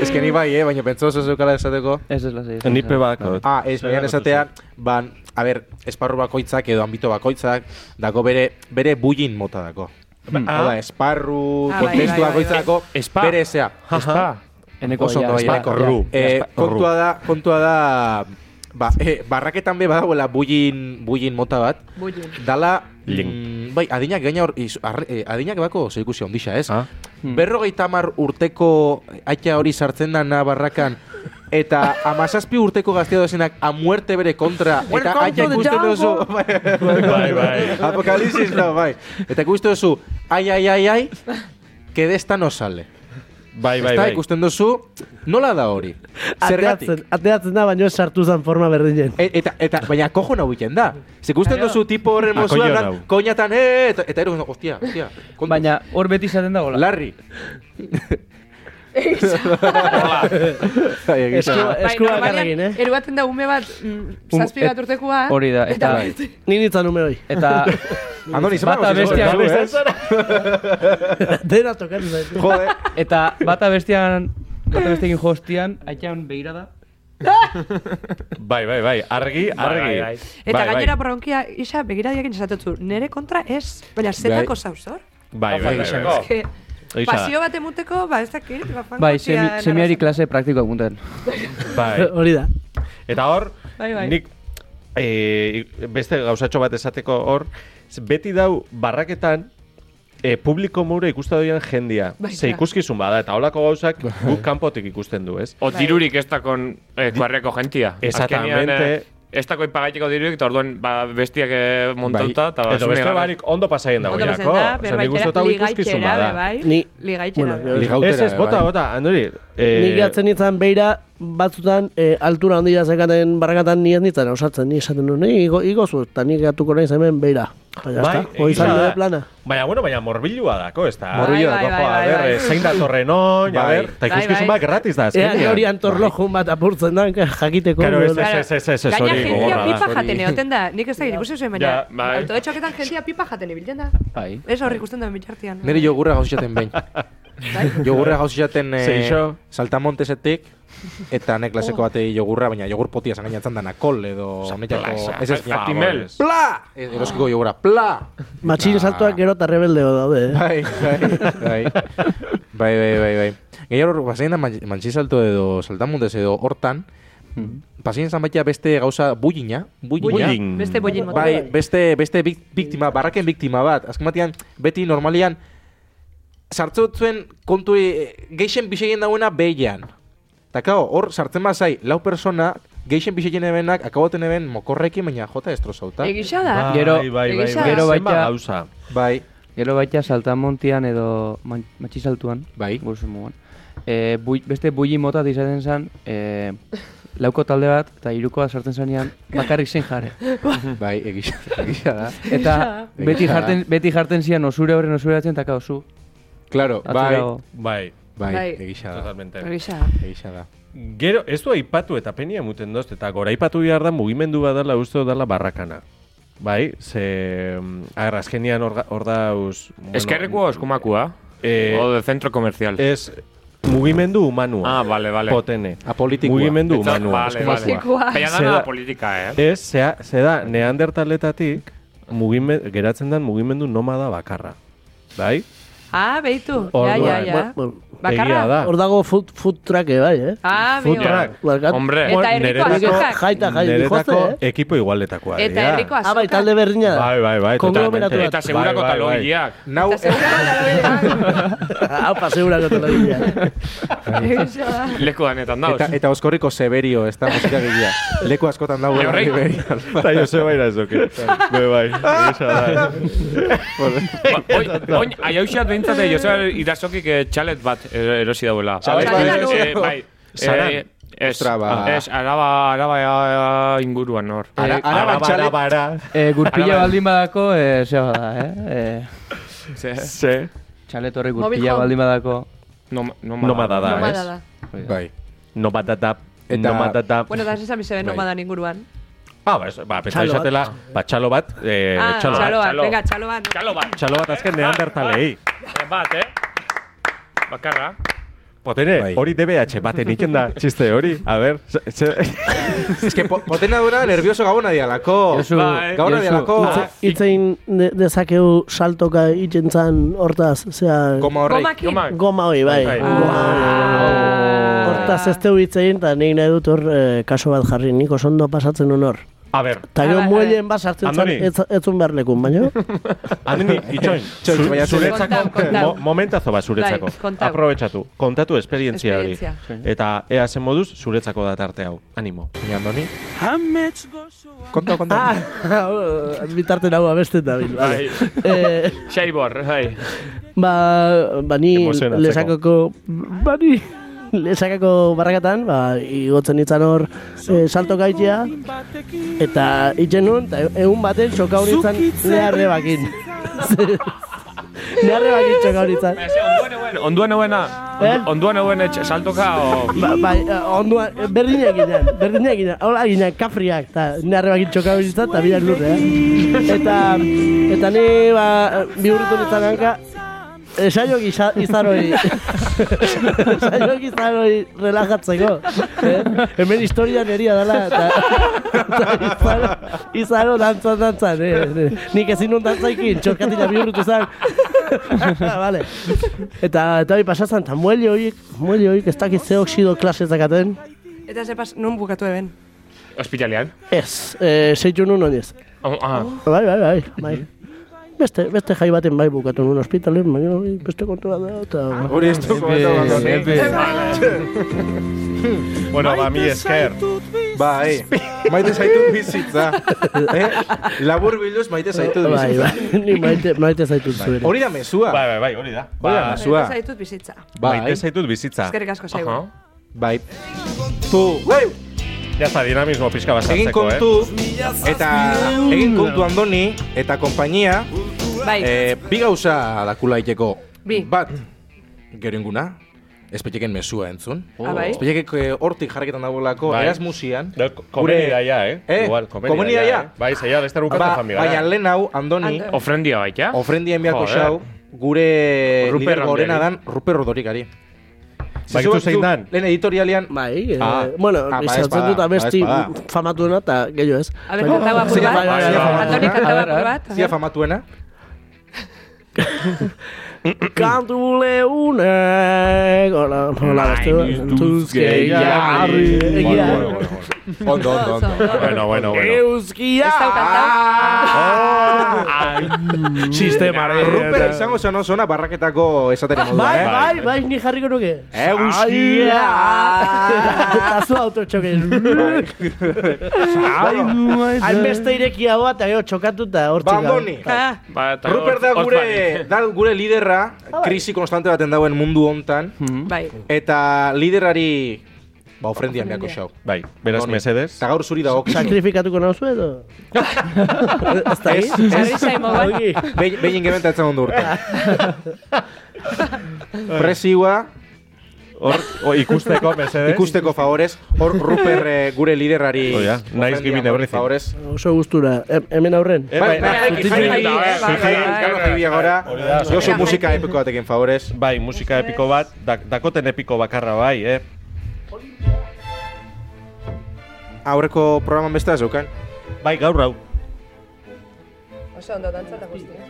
[SPEAKER 2] Ez que ni bai, eh, baina pentsa zoze zukala esateko.
[SPEAKER 6] Ez ez lasai.
[SPEAKER 10] Ni pe badakot.
[SPEAKER 2] Ah, ez, baina
[SPEAKER 10] Zer
[SPEAKER 2] esatea, ban, a ber, esparru bakoitzak edo ambito bakoitzak, dako bere, bere bullin mota dako. Hmm.
[SPEAKER 3] Ah.
[SPEAKER 2] Hada, esparru,
[SPEAKER 3] Ah, bai, bai,
[SPEAKER 2] kontestu
[SPEAKER 3] bai,
[SPEAKER 2] bakoitzako,
[SPEAKER 3] Espa.
[SPEAKER 2] bere ezea.
[SPEAKER 3] Espa.
[SPEAKER 6] Eneko
[SPEAKER 2] Oso
[SPEAKER 6] ja,
[SPEAKER 2] ondo,
[SPEAKER 6] espa,
[SPEAKER 2] bai,
[SPEAKER 6] ja.
[SPEAKER 2] korru. Eh,
[SPEAKER 6] Espa, korru.
[SPEAKER 2] kontua da, kontua da, ba, eh, barraketan be badagoela bullin, bullin mota bat, dala, mm, bai, adinak gaina hor, iz- arre- eh, adinak bako zeikusi ondisa, ez? Hmm. Berrogeita hamar urteko aita hori sartzen da na barrakan, Eta amazazpi urteko gaztea dozenak a muerte bere kontra. Eta
[SPEAKER 7] Welcome
[SPEAKER 2] aia
[SPEAKER 7] to the
[SPEAKER 2] ikusten
[SPEAKER 7] jungle.
[SPEAKER 2] duzu... bai, bai. Apocalipsis, no, bai. Eta ikusten duzu, ai, ai, ai, ai, que de esta no sale.
[SPEAKER 10] Bai,
[SPEAKER 2] bai, bai. ikusten duzu, nola da hori? Zergatik.
[SPEAKER 11] Ateatzen, ateatzen da, baino ez sartu zen forma berdinen.
[SPEAKER 2] E- eta, eta, baina kojo nau egiten da. Ze ikusten duzu tipo horren
[SPEAKER 10] Ah,
[SPEAKER 2] mozua,
[SPEAKER 10] koño
[SPEAKER 2] lan,
[SPEAKER 10] nau.
[SPEAKER 2] koñatan, eh, eta, eta ero, hostia, hostia.
[SPEAKER 6] Baina hor beti izaten da gola.
[SPEAKER 2] Larri. Bai, egia da.
[SPEAKER 11] eskua
[SPEAKER 5] normalean,
[SPEAKER 11] bakarrekin, eh?
[SPEAKER 5] Eruaten da ume bat, mm,
[SPEAKER 6] Um,
[SPEAKER 5] zazpi bat
[SPEAKER 6] et-
[SPEAKER 5] urtekoa.
[SPEAKER 6] Hori da, eta...
[SPEAKER 11] Ni nintzen ume hoi.
[SPEAKER 6] Eta...
[SPEAKER 2] Andoni, zer
[SPEAKER 6] bata
[SPEAKER 2] dago zure
[SPEAKER 6] bestian...
[SPEAKER 2] barruan, eh?
[SPEAKER 11] Dena tokatu zaitu.
[SPEAKER 6] eh?
[SPEAKER 10] Bai.
[SPEAKER 2] Jode.
[SPEAKER 6] Eta bata bestian... Bata bestekin jostian, aitan behirada.
[SPEAKER 10] Bai, bai, bai. Argi,
[SPEAKER 3] Bai,
[SPEAKER 10] argi.
[SPEAKER 3] bai, bai.
[SPEAKER 5] Eta
[SPEAKER 10] Bai, bai.
[SPEAKER 5] gainera bronkia, isa, begiradiakin esatetzu, nere kontra ez, baina zetako zauzor.
[SPEAKER 10] Bai, bai, bai, bai.
[SPEAKER 5] Es que,
[SPEAKER 10] Isa.
[SPEAKER 5] pasio bat emuteko, ba, ez dakit, ba, fan
[SPEAKER 6] Bai,
[SPEAKER 5] gotia
[SPEAKER 6] semi,
[SPEAKER 5] en
[SPEAKER 6] semiari klase praktikoak munten.
[SPEAKER 10] Bai.
[SPEAKER 11] Hori da.
[SPEAKER 10] Eta hor,
[SPEAKER 5] Bai, bai.
[SPEAKER 10] nik eh, beste gauzatxo bat esateko hor, z- beti dau barraketan eh, publiko mure ikusten doian jendia.
[SPEAKER 3] Bai,
[SPEAKER 10] Ze
[SPEAKER 3] ja.
[SPEAKER 10] ikuskizun bada, eta holako gauzak
[SPEAKER 3] Bai.
[SPEAKER 10] guk kanpotik ikusten du, ez?
[SPEAKER 3] O dirurik ez dakon eh, kuarreko gentia.
[SPEAKER 10] Exactamente.
[SPEAKER 3] Azkenean, eh, Ez dako ipagaiteko dirurik, eta orduan ba, bestiak eh, montauta, eta
[SPEAKER 10] Bai. Edo beste barik ondo bai, pasaien
[SPEAKER 5] Ondo bai,
[SPEAKER 10] dagoelako.
[SPEAKER 5] pasatzen da,
[SPEAKER 10] Osea, nik uste dut hau ikuskizun
[SPEAKER 5] berbaitxera,
[SPEAKER 10] bada.
[SPEAKER 5] be bai.
[SPEAKER 11] Ni-
[SPEAKER 10] eh,
[SPEAKER 5] Ligaitxera.
[SPEAKER 11] Bueno,
[SPEAKER 3] bai.
[SPEAKER 10] Ez, ez, bota, bota, Andori.
[SPEAKER 11] Nik
[SPEAKER 10] Eh,
[SPEAKER 11] gatzen nintzen beira, batzutan e, altura handia zekaten barrakatan ni ez nintzen osatzen, ni esaten nuen, ni igo, igozu, eta ni gatuko nahi hemen beira. Baina, bai,
[SPEAKER 10] Bai,
[SPEAKER 11] hoi
[SPEAKER 10] egia
[SPEAKER 11] izan
[SPEAKER 10] da.
[SPEAKER 11] nire plana.
[SPEAKER 10] Baina, bueno, baina morbilua dako, ez da.
[SPEAKER 11] Morbilua
[SPEAKER 10] Bai,
[SPEAKER 11] dako,
[SPEAKER 10] bai,
[SPEAKER 11] jo,
[SPEAKER 10] bai,
[SPEAKER 11] a ber,
[SPEAKER 10] bai. zein datorren oin, a
[SPEAKER 11] Bai.
[SPEAKER 10] ber, eta
[SPEAKER 11] Bai, bai.
[SPEAKER 10] ikuskizun bat gratis da,
[SPEAKER 11] Ea, ni
[SPEAKER 10] azkenean.
[SPEAKER 11] hori antorlojun bat apurtzen da, jakiteko.
[SPEAKER 10] Claro, ez,
[SPEAKER 11] nola.
[SPEAKER 10] ez, ez, ez, ez, ez,
[SPEAKER 5] Gaina
[SPEAKER 10] hori
[SPEAKER 5] jentia
[SPEAKER 10] gogorra
[SPEAKER 5] pipa
[SPEAKER 10] da.
[SPEAKER 5] jaten egoten da, nik ez da ikusi zuen, baina
[SPEAKER 2] Ja, bai.
[SPEAKER 5] autoetxoketan jentia pipa jaten ibiltzen da.
[SPEAKER 2] Bai.
[SPEAKER 5] Ez hor ikusten duen bitartian.
[SPEAKER 2] Niri jogurra gauziaten behin.
[SPEAKER 10] Bai.
[SPEAKER 2] jogurra gauziaten eh,
[SPEAKER 10] Zeixo.
[SPEAKER 2] saltamontesetik, eta nek
[SPEAKER 10] Oh.
[SPEAKER 2] klaseko batei jogurra, baina jogur potia zangainatzen dana kol edo honetako... Ez ez,
[SPEAKER 10] Atimel.
[SPEAKER 2] Pla! Eh, Eroskiko jogurra, pla!
[SPEAKER 11] Matxin
[SPEAKER 10] Ah.
[SPEAKER 11] saltuak gero eta rebeldeo daude, eh?
[SPEAKER 2] Bai, bai, bai. Bai, bai, bai, bai. Gehiago hor, pasein da man- mantxin salto edo saltamontez edo hortan, pasein zan baita beste gauza bullina, bullina.
[SPEAKER 5] Hmm. Bullying. Beste bullying mota
[SPEAKER 2] Bai,
[SPEAKER 5] bat.
[SPEAKER 2] beste, beste bik- biktima, barraken biktima bat. Azken batean, beti normalian, sartzen zuen kontu eh, geixen bisegin dauena behian. Eta kao, hor sartzen bazai, lau persona, geixen bisegin ebenak, akaboten eben mokorrekin, baina jota destrozauta.
[SPEAKER 5] Egisa da.
[SPEAKER 10] Bai.
[SPEAKER 6] Gero, gero baita...
[SPEAKER 10] gauza.
[SPEAKER 2] Bai.
[SPEAKER 6] Gero baita saltamontian edo man- matxisaltuan.
[SPEAKER 2] Bai.
[SPEAKER 6] Bursu mugan. E, bui, beste bulli mota izaten zen, e, lauko talde bat, eta irukoa sartzen zanean, bakarrik zen jare.
[SPEAKER 2] Bai, egisa, egisa da.
[SPEAKER 6] Eta beti
[SPEAKER 2] Egisa da.
[SPEAKER 6] jarten, beti jarten zian osure horren osure batzen, eta kao zu.
[SPEAKER 2] Claro,
[SPEAKER 6] Atzerago.
[SPEAKER 10] Bai.
[SPEAKER 2] Bai,
[SPEAKER 5] Bai.
[SPEAKER 2] egisa da.
[SPEAKER 10] Totalmente.
[SPEAKER 5] Egisa.
[SPEAKER 2] Egisa da.
[SPEAKER 10] Gero, ez du aipatu eta penia muten doz, eta goraipatu behar da mugimendu bat dela uste dut dela barrakana. Bai, ze... mm, A ber, azkenian hor ga- hor dauz... Bueno,
[SPEAKER 3] Eskerreko eskumakua.
[SPEAKER 10] Eh,
[SPEAKER 3] o de centro comercial.
[SPEAKER 10] Ez, mugimendu humanua.
[SPEAKER 3] Ah, vale, vale.
[SPEAKER 10] Potene.
[SPEAKER 2] Apolitikoa.
[SPEAKER 10] Mugimendu
[SPEAKER 3] Eta-
[SPEAKER 10] humanua.
[SPEAKER 3] Vale,
[SPEAKER 10] eskumakua.
[SPEAKER 3] vale. Baina
[SPEAKER 10] Ze
[SPEAKER 3] dana
[SPEAKER 10] da-
[SPEAKER 3] da politika, eh?
[SPEAKER 10] Ez, zea, ze da, neandertaletatik mugimen, geratzen den mugimendu nomada bakarra. Bai?
[SPEAKER 5] Ah, beitu. Ja,
[SPEAKER 11] Bai,
[SPEAKER 5] ja, ja. Bakarra?
[SPEAKER 10] Egia da.
[SPEAKER 11] Hor dago food, food truck, eh, bai, eh?
[SPEAKER 5] Ah,
[SPEAKER 10] Food
[SPEAKER 5] mira.
[SPEAKER 10] truck.
[SPEAKER 11] Barkat.
[SPEAKER 10] Hombre.
[SPEAKER 5] Eta herriko azokak.
[SPEAKER 11] Jaita, jai,
[SPEAKER 10] Neretako
[SPEAKER 11] dijoze,
[SPEAKER 10] ekipo igualetakoa.
[SPEAKER 5] eh? Eta
[SPEAKER 10] dira.
[SPEAKER 5] herriko azokak.
[SPEAKER 11] Ah, bai, talde berdina da.
[SPEAKER 10] Bai, bai, bai.
[SPEAKER 11] Konglomeratu bat.
[SPEAKER 10] totalmente.
[SPEAKER 11] Eta segurako
[SPEAKER 10] Bai, bai, bai.
[SPEAKER 3] talogileak.
[SPEAKER 2] Nau,
[SPEAKER 11] Haupa, segurako telabila.
[SPEAKER 3] Leku danetan dauz.
[SPEAKER 2] Eta, eta oskorriko Severio, ez da musika gilea. Leku askotan Bai. dago.
[SPEAKER 3] Horrei.
[SPEAKER 10] Eta Joseba irazoke. Be bai, egisa da.
[SPEAKER 3] Oin, aiauxat behintzat, eh, Joseba Irasokik eh, txalet bat eh, erosi dauela.
[SPEAKER 2] Txalet
[SPEAKER 3] Eh,
[SPEAKER 2] bat
[SPEAKER 3] eh,
[SPEAKER 2] erosi.
[SPEAKER 3] eh, bai.
[SPEAKER 2] Saran.
[SPEAKER 3] Eh, Ez,
[SPEAKER 2] Ostra, ba.
[SPEAKER 3] ez, araba, araba eh, inguruan hor.
[SPEAKER 2] Ara-
[SPEAKER 3] Eh,
[SPEAKER 2] araba txalet-
[SPEAKER 6] E, gurpila
[SPEAKER 3] Araba-
[SPEAKER 6] baldin badako, e, zea bada, eh?
[SPEAKER 3] Ze-
[SPEAKER 10] Ze.
[SPEAKER 6] Txalet horrek
[SPEAKER 5] Mobile
[SPEAKER 6] gurpila
[SPEAKER 5] home.
[SPEAKER 6] baldin badako.
[SPEAKER 3] Nom-
[SPEAKER 10] Nomada da,
[SPEAKER 5] Nomada
[SPEAKER 10] ez?
[SPEAKER 5] da.
[SPEAKER 2] Bai.
[SPEAKER 10] Nomada da.
[SPEAKER 2] Eta-
[SPEAKER 10] Nomada da.
[SPEAKER 5] Bueno, da sesam izan
[SPEAKER 10] Bai.
[SPEAKER 5] nomadan inguruan.
[SPEAKER 10] Ah, ba, ez- ba, pentsa
[SPEAKER 5] Txalo bat.
[SPEAKER 10] izatela, ba, txalo bat, eh,
[SPEAKER 5] Ah,
[SPEAKER 10] txalo bat.
[SPEAKER 5] txaloan. Venga, txaloan.
[SPEAKER 3] Txalo eh. bat.
[SPEAKER 10] Txalo bat azken neandertalei.
[SPEAKER 3] Eh, Bat, eh? Bakarra.
[SPEAKER 10] Potene, hori DBH baten egiten da txiste hori. A ber, ze- ze-
[SPEAKER 2] Ez que po- potena dura nervioso gabona dialako.
[SPEAKER 6] Josu, Bai.
[SPEAKER 2] Gabona
[SPEAKER 6] Josu.
[SPEAKER 2] dialako.
[SPEAKER 6] Itze-
[SPEAKER 11] Itzein de, dezakeu saltoka itxentzan hortaz, zera...
[SPEAKER 2] Goma horrei.
[SPEAKER 5] Gomaki. Gomak. Ah.
[SPEAKER 11] Goma hoi, bai.
[SPEAKER 2] Bai.
[SPEAKER 11] Goma hoi, bai. Hortaz ez teu itzein, eta nik nahi dut hor eh, kaso bat jarri, nik oso ondo pasatzen un hor.
[SPEAKER 10] A ber,
[SPEAKER 11] Eta gero
[SPEAKER 5] Ah,
[SPEAKER 11] muellen bat sartzen zan,
[SPEAKER 10] Andoni.
[SPEAKER 11] ez, etzun behar lekun, baino?
[SPEAKER 10] Andini, itxoin,
[SPEAKER 2] Itxoin,
[SPEAKER 10] zu-
[SPEAKER 2] baina zure-
[SPEAKER 10] zuretzako,
[SPEAKER 5] Kontau, kontau.
[SPEAKER 10] mo- momentazo bat zuretzako.
[SPEAKER 5] Bai, kontau.
[SPEAKER 10] Aprobetxatu, kontatu esperientzia hori.
[SPEAKER 5] Esperientzia.
[SPEAKER 10] Eta ea zen moduz, zuretzako da tarte hau. Animo.
[SPEAKER 2] Ni Andoni. Konta, konta.
[SPEAKER 11] Ah, bitarte nago abesten da, bil.
[SPEAKER 3] Bai.
[SPEAKER 11] Eh,
[SPEAKER 3] Xaibor, bai.
[SPEAKER 11] Ba, ba ni
[SPEAKER 10] Emozionatzeko.
[SPEAKER 11] lesakako... Ba ni lesakako barrakatan, ba, igotzen itzan hor eh, salto gaitea, eta itzen nun, eta egun baten soka hori itzan neharre bakin. neharre bakin soka hori itzan.
[SPEAKER 3] Onduan hauena,
[SPEAKER 11] Eh?
[SPEAKER 3] onduan hauena etxe- saltoka o...
[SPEAKER 11] Ba, ba, onduan, berdinak ginean, berdinak ginean, hola ginean, kafriak, eta neharre bakin soka hori itzan, eta bilan lurre, eh? Eta, eta ni, ba, bihurritu nintzen hanka, eh, Esaio giza- izaroi Esaio izaroi relajatzeko eh? Hemen historian eria dela eta, eta izaro, izaro dantzan dantzan eh? Nik ezin nun dantzaikin txorkatila bihurrutu zan vale. Eta eta hori pasazan Eta muelle horiek Muelle horiek ez dakit ze oxido klase zakaten
[SPEAKER 5] Eta zepas, non bukatu eben.
[SPEAKER 3] Hospitalean.
[SPEAKER 11] Ez, eh, zeitu nun oinez
[SPEAKER 3] Oh, ah.
[SPEAKER 11] Bai, bai, bai, bai. Beste, beste jai baten bai bukatu nun ospitalen, baina hori beste kontua da, eta...
[SPEAKER 2] Hori ez du komentau Andoni.
[SPEAKER 10] Bueno, ba, mi esker.
[SPEAKER 2] Bai. Maite zaitu bizitza. Eh? Labur bilduz maite zaitu
[SPEAKER 11] Bai,
[SPEAKER 2] bizitza.
[SPEAKER 11] bai, ni maite, maite zaitut zuera.
[SPEAKER 2] Hori da mezua.
[SPEAKER 10] Bai, bai, bai, hori da.
[SPEAKER 2] Hori da
[SPEAKER 5] Eta
[SPEAKER 2] mezua.
[SPEAKER 5] zaitut bizitza.
[SPEAKER 2] Bai.
[SPEAKER 10] Maite zaitut bizitza.
[SPEAKER 5] Eskerrik asko zaigu.
[SPEAKER 2] Bai. kontu.
[SPEAKER 10] Ja está, dinamismo pixka bat
[SPEAKER 2] Egin
[SPEAKER 3] eh.
[SPEAKER 10] sartzeko, eh.
[SPEAKER 2] kontu eta egin kontu Andoni eta konpainia
[SPEAKER 5] Bai.
[SPEAKER 2] eh, bi gauza dakula iteko.
[SPEAKER 5] Bi.
[SPEAKER 2] Bat, gero inguna, espetxeken mesua entzun.
[SPEAKER 5] Ah, bai?
[SPEAKER 2] Espetxekek, eh, hortik jarraketan dagoelako,
[SPEAKER 10] Bai.
[SPEAKER 2] Erasmusian.
[SPEAKER 10] komedia ja, eh?
[SPEAKER 2] Eh,
[SPEAKER 10] Igual, komedia
[SPEAKER 2] komedia
[SPEAKER 10] ja,
[SPEAKER 2] ja.
[SPEAKER 10] eh? Bai, zaila, beste bukatzen
[SPEAKER 2] Ba,
[SPEAKER 10] joan bihar, Oh.
[SPEAKER 2] baina
[SPEAKER 10] eh?
[SPEAKER 2] lehen hau, Andoni,
[SPEAKER 5] Andoni.
[SPEAKER 3] Ofrendia baita.
[SPEAKER 2] ofrendia enbiako
[SPEAKER 3] Joder.
[SPEAKER 2] xau, gure
[SPEAKER 3] Ruper
[SPEAKER 2] lider gorena
[SPEAKER 3] handiari.
[SPEAKER 2] dan Ruper Rodorikari.
[SPEAKER 10] Bakitu
[SPEAKER 2] Zizue,
[SPEAKER 10] zein
[SPEAKER 2] zu-
[SPEAKER 10] dan?
[SPEAKER 2] Lehen editorialean...
[SPEAKER 11] Bai, Eh, bueno, ah, izan dut abesti famatuena eta gehiago ez.
[SPEAKER 5] A ber, kantau apur
[SPEAKER 11] Zera,
[SPEAKER 5] bat.
[SPEAKER 11] bai, bai, bai.
[SPEAKER 5] Andoni, kantau apur bat.
[SPEAKER 2] Zia famatuena.
[SPEAKER 11] Kantule unek, hola, hola, beste, entuz gehiarri.
[SPEAKER 2] Ondo, ondo, ondo.
[SPEAKER 10] Bueno, bueno, bueno.
[SPEAKER 11] Euskia!
[SPEAKER 2] Ah.
[SPEAKER 10] Sistemaren-
[SPEAKER 2] Ruper izango zen oso ona barraketako esatera moduan,
[SPEAKER 11] Bai,
[SPEAKER 2] eh?
[SPEAKER 11] bai, bai, ni jarriko nuke.
[SPEAKER 10] Bai.
[SPEAKER 2] Euskia!
[SPEAKER 11] Eta zu autotxoke. bai, Hainbeste irekia bat, eta gero txokatu eta hortzik.
[SPEAKER 2] Bandoni.
[SPEAKER 11] Ah.
[SPEAKER 2] Ruper da gure, da gure liderra, krisi konstante baten dauen mundu hontan,
[SPEAKER 5] Bai.
[SPEAKER 2] eta liderari ba ofrendian beako xau.
[SPEAKER 10] Bai, beraz
[SPEAKER 2] Andoni.
[SPEAKER 10] mesedes.
[SPEAKER 2] Eta gaur zuri dago.
[SPEAKER 11] Sakrifikatuko nauzu edo? Ez da
[SPEAKER 2] Ez, ez.
[SPEAKER 11] Argi.
[SPEAKER 2] Behin behin ingementa etzen ondo urte. Presioa,
[SPEAKER 10] Hor, o, ikusteko mesedes.
[SPEAKER 2] ikusteko favorez, hor Ruper eh, gure liderrari.
[SPEAKER 10] Oh, ja. Nice
[SPEAKER 2] ofrendian,
[SPEAKER 10] giving
[SPEAKER 2] hor,
[SPEAKER 10] everything.
[SPEAKER 2] Favorez.
[SPEAKER 11] Oso gustura, Hem- hemen aurren.
[SPEAKER 10] Eh,
[SPEAKER 2] Bai, bai,
[SPEAKER 10] bai,
[SPEAKER 2] bai, bai, bai,
[SPEAKER 10] bai, bai,
[SPEAKER 2] bai,
[SPEAKER 10] da.
[SPEAKER 2] bai, oso musika epiko batekin favorez.
[SPEAKER 10] Bai, musika epiko bat, dak, dakoten epiko bakarra bai, eh?
[SPEAKER 2] Aurreko programan beste zeukan.
[SPEAKER 10] Bai, gaur hau.
[SPEAKER 5] Oso ondo dantza eta guztia.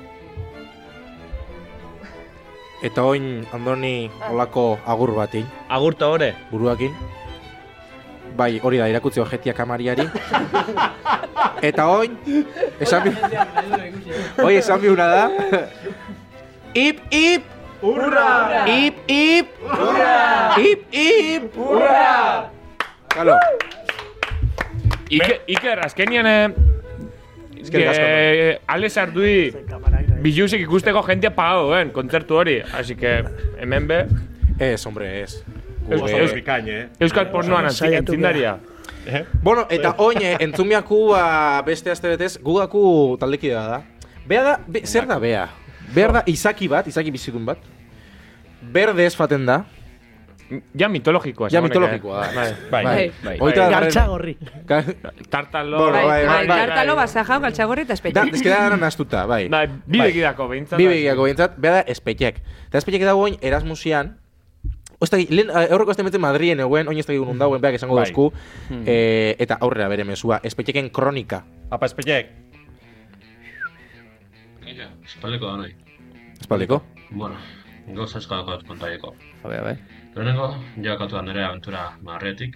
[SPEAKER 2] Eta oin Andoni olako agur batin,
[SPEAKER 13] Agurta hore.
[SPEAKER 2] buruakin. Bai, hori da, irakutzi objetia kamariari. Eta oin, esan bi... Oi, esan biuna da. Ip, ip! Urra! Ip, ip! Urra! Ip, ip! Urra! Kalo,
[SPEAKER 3] Ike, Iker, azkenian... Eh,
[SPEAKER 2] Eskerrik asko.
[SPEAKER 3] que Alex Ardui bilusik ikusteko jentia pagado duen, kontzertu hori. Así que, hemen be...
[SPEAKER 2] ez, hombre, ez. Gu-
[SPEAKER 3] Eus-
[SPEAKER 2] eh,
[SPEAKER 3] Eus- Euskal pornoan antzi-
[SPEAKER 11] saiatu
[SPEAKER 3] entzindaria.
[SPEAKER 2] Bueno, eta oin, eh, entzumiaku ba, beste aste betez, gugaku taldekidea da. Bea da, be, zer da bea? Behar da, izaki bat, izaki bizidun bat. Berde ez faten da.
[SPEAKER 3] Ja mitologikoa.
[SPEAKER 2] Ja
[SPEAKER 3] esan honek,
[SPEAKER 2] mitologikoa
[SPEAKER 3] eh.
[SPEAKER 2] da.
[SPEAKER 3] Bai,
[SPEAKER 2] Bai,
[SPEAKER 3] bai.
[SPEAKER 2] Hogeita
[SPEAKER 3] Bai.
[SPEAKER 2] bigarren-
[SPEAKER 11] Gartxagorri.
[SPEAKER 2] Ga-
[SPEAKER 3] Tartalo...
[SPEAKER 2] Bueno,
[SPEAKER 5] Bai, bai,
[SPEAKER 2] bai, bai, bai.
[SPEAKER 5] tartalo basajau, galtxagorri eta espetxe.
[SPEAKER 2] Da, ez que da dana nastuta, bai.
[SPEAKER 3] Bai, bi
[SPEAKER 2] Bai.
[SPEAKER 3] begirako behintzat.
[SPEAKER 2] Bi begiako bintzat, bea da, espetiek. Eta espetiek dago oin, erasmusian, Osta, lehen, eh, aurreko este metzen Madrien eguen, oin ez da gigun dauen, beak esango
[SPEAKER 10] Bai.
[SPEAKER 2] dauzku.
[SPEAKER 3] Hmm.
[SPEAKER 2] Eh, eta aurrera bere mesua, espetieken kronika.
[SPEAKER 10] Apa espeiek.
[SPEAKER 13] Espaldeko da nahi.
[SPEAKER 2] Espaldeko?
[SPEAKER 13] Bueno, gauza asko dago kontariko.
[SPEAKER 6] A ber, a ber.
[SPEAKER 13] Lehenengo, jakatu da nire aventura marretik,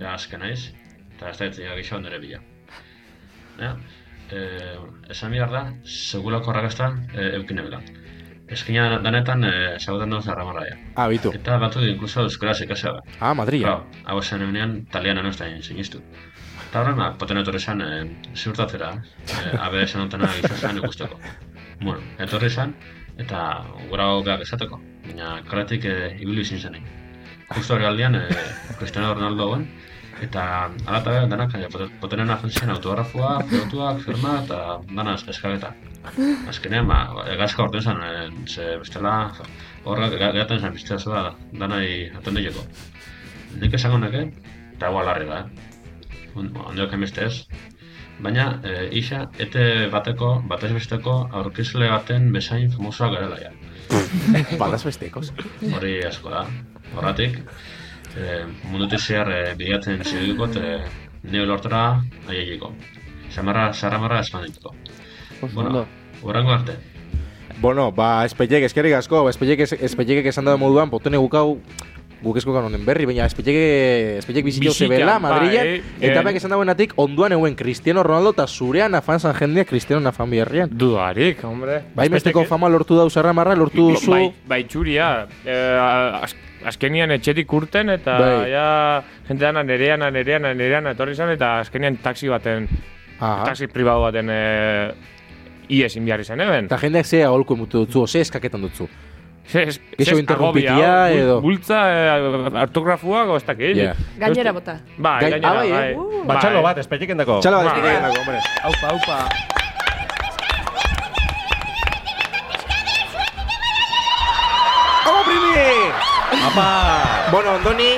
[SPEAKER 13] da aske naiz, eta ez da etzina gixo nire bila. Ja, eh, esan behar da, segulako horrakazta eh, eukine bila. Eskina danetan eh, esagutan dauz arramarraia.
[SPEAKER 2] Ah, bitu.
[SPEAKER 13] Eta batu inkluso euskaraz ikasea da.
[SPEAKER 2] Ah, Madria.
[SPEAKER 13] Claro, hau esan egunean, talian anostan egin sinistu. Eta horren, ba, poten etorri esan, eh, ziurtatzera, eh, abe esan ontena gizazan ikusteko. Bueno, etorri esan, eta gura gauk esateko. Baina, kalatik eh, ibili izin zenei. Justo hori aldean, eh, Cristiano Ronaldo hauen, eta alata behar denak eh, poten- potenen agentzien autografoa, pilotuak, firma, eta dana eskageta. Azkenean, ba, egazka orten zen, eh, ze bestela, horrek gaten zen biztea zua danai atendileko. Nik esango neke, eta hau alarri da, eh? Ondioak emeste ez. Baina, e, isa, ete bateko, batez besteko aurkizle baten bezain famosoa garela ja.
[SPEAKER 2] Balaz bestekos.
[SPEAKER 13] Hori asko da. Horratik, e, mundutik zehar e, bilatzen zidukot, e, nire lortara aiegiko. Samarra, sarramarra espandituko. Bueno,
[SPEAKER 6] ondo.
[SPEAKER 13] horrengo arte.
[SPEAKER 2] Bueno, ba, espeiek eskerrik asko, ba, espeiek espeiek esan da moduan, potene gukau guk esko honen berri, baina espeiek espeiek bizitio
[SPEAKER 3] Bizitan,
[SPEAKER 2] zebela
[SPEAKER 3] ba,
[SPEAKER 2] Madrilen,
[SPEAKER 3] eh,
[SPEAKER 2] eta
[SPEAKER 3] eh.
[SPEAKER 2] beak esan dauenatik onduan euen Cristiano Ronaldo eta zurean afan san jendea Cristiano nafan biherrian.
[SPEAKER 3] Dudarik, hombre.
[SPEAKER 2] Bai, besteko fama lortu da Marra, lortu
[SPEAKER 3] Bo-
[SPEAKER 2] duzu.
[SPEAKER 3] Ba, eh. Bai, bai txuria. Eh, az, azkenian etxetik urten eta
[SPEAKER 2] Bai.
[SPEAKER 3] ja jentean nerean, nerean, nerean etorri izan eta azkenian taxi baten,
[SPEAKER 2] Aha.
[SPEAKER 3] taxi pribado baten eh, ies inbiar izan eben.
[SPEAKER 2] Eta jendeak zea aholku emutu dutzu, ose eskaketan dutzu.
[SPEAKER 3] Zez,
[SPEAKER 2] Geixo
[SPEAKER 3] zez
[SPEAKER 2] interrumpitia
[SPEAKER 3] agobia, bul-
[SPEAKER 2] edo-
[SPEAKER 3] Bultza eh, autografoa o ez dakit.
[SPEAKER 2] Ja.
[SPEAKER 5] Gainera bota.
[SPEAKER 3] Bai,
[SPEAKER 10] Gai-
[SPEAKER 3] gainera,
[SPEAKER 10] Ah, bai, eh?
[SPEAKER 3] bai.
[SPEAKER 10] Uh. Ba, txalo bat, espaitik endako. Txalo bat,
[SPEAKER 3] Ba,
[SPEAKER 10] espaitik
[SPEAKER 3] bai.
[SPEAKER 10] endako,
[SPEAKER 6] Aupa, aupa.
[SPEAKER 2] ¡Vamos, primi! Bueno, Andoni,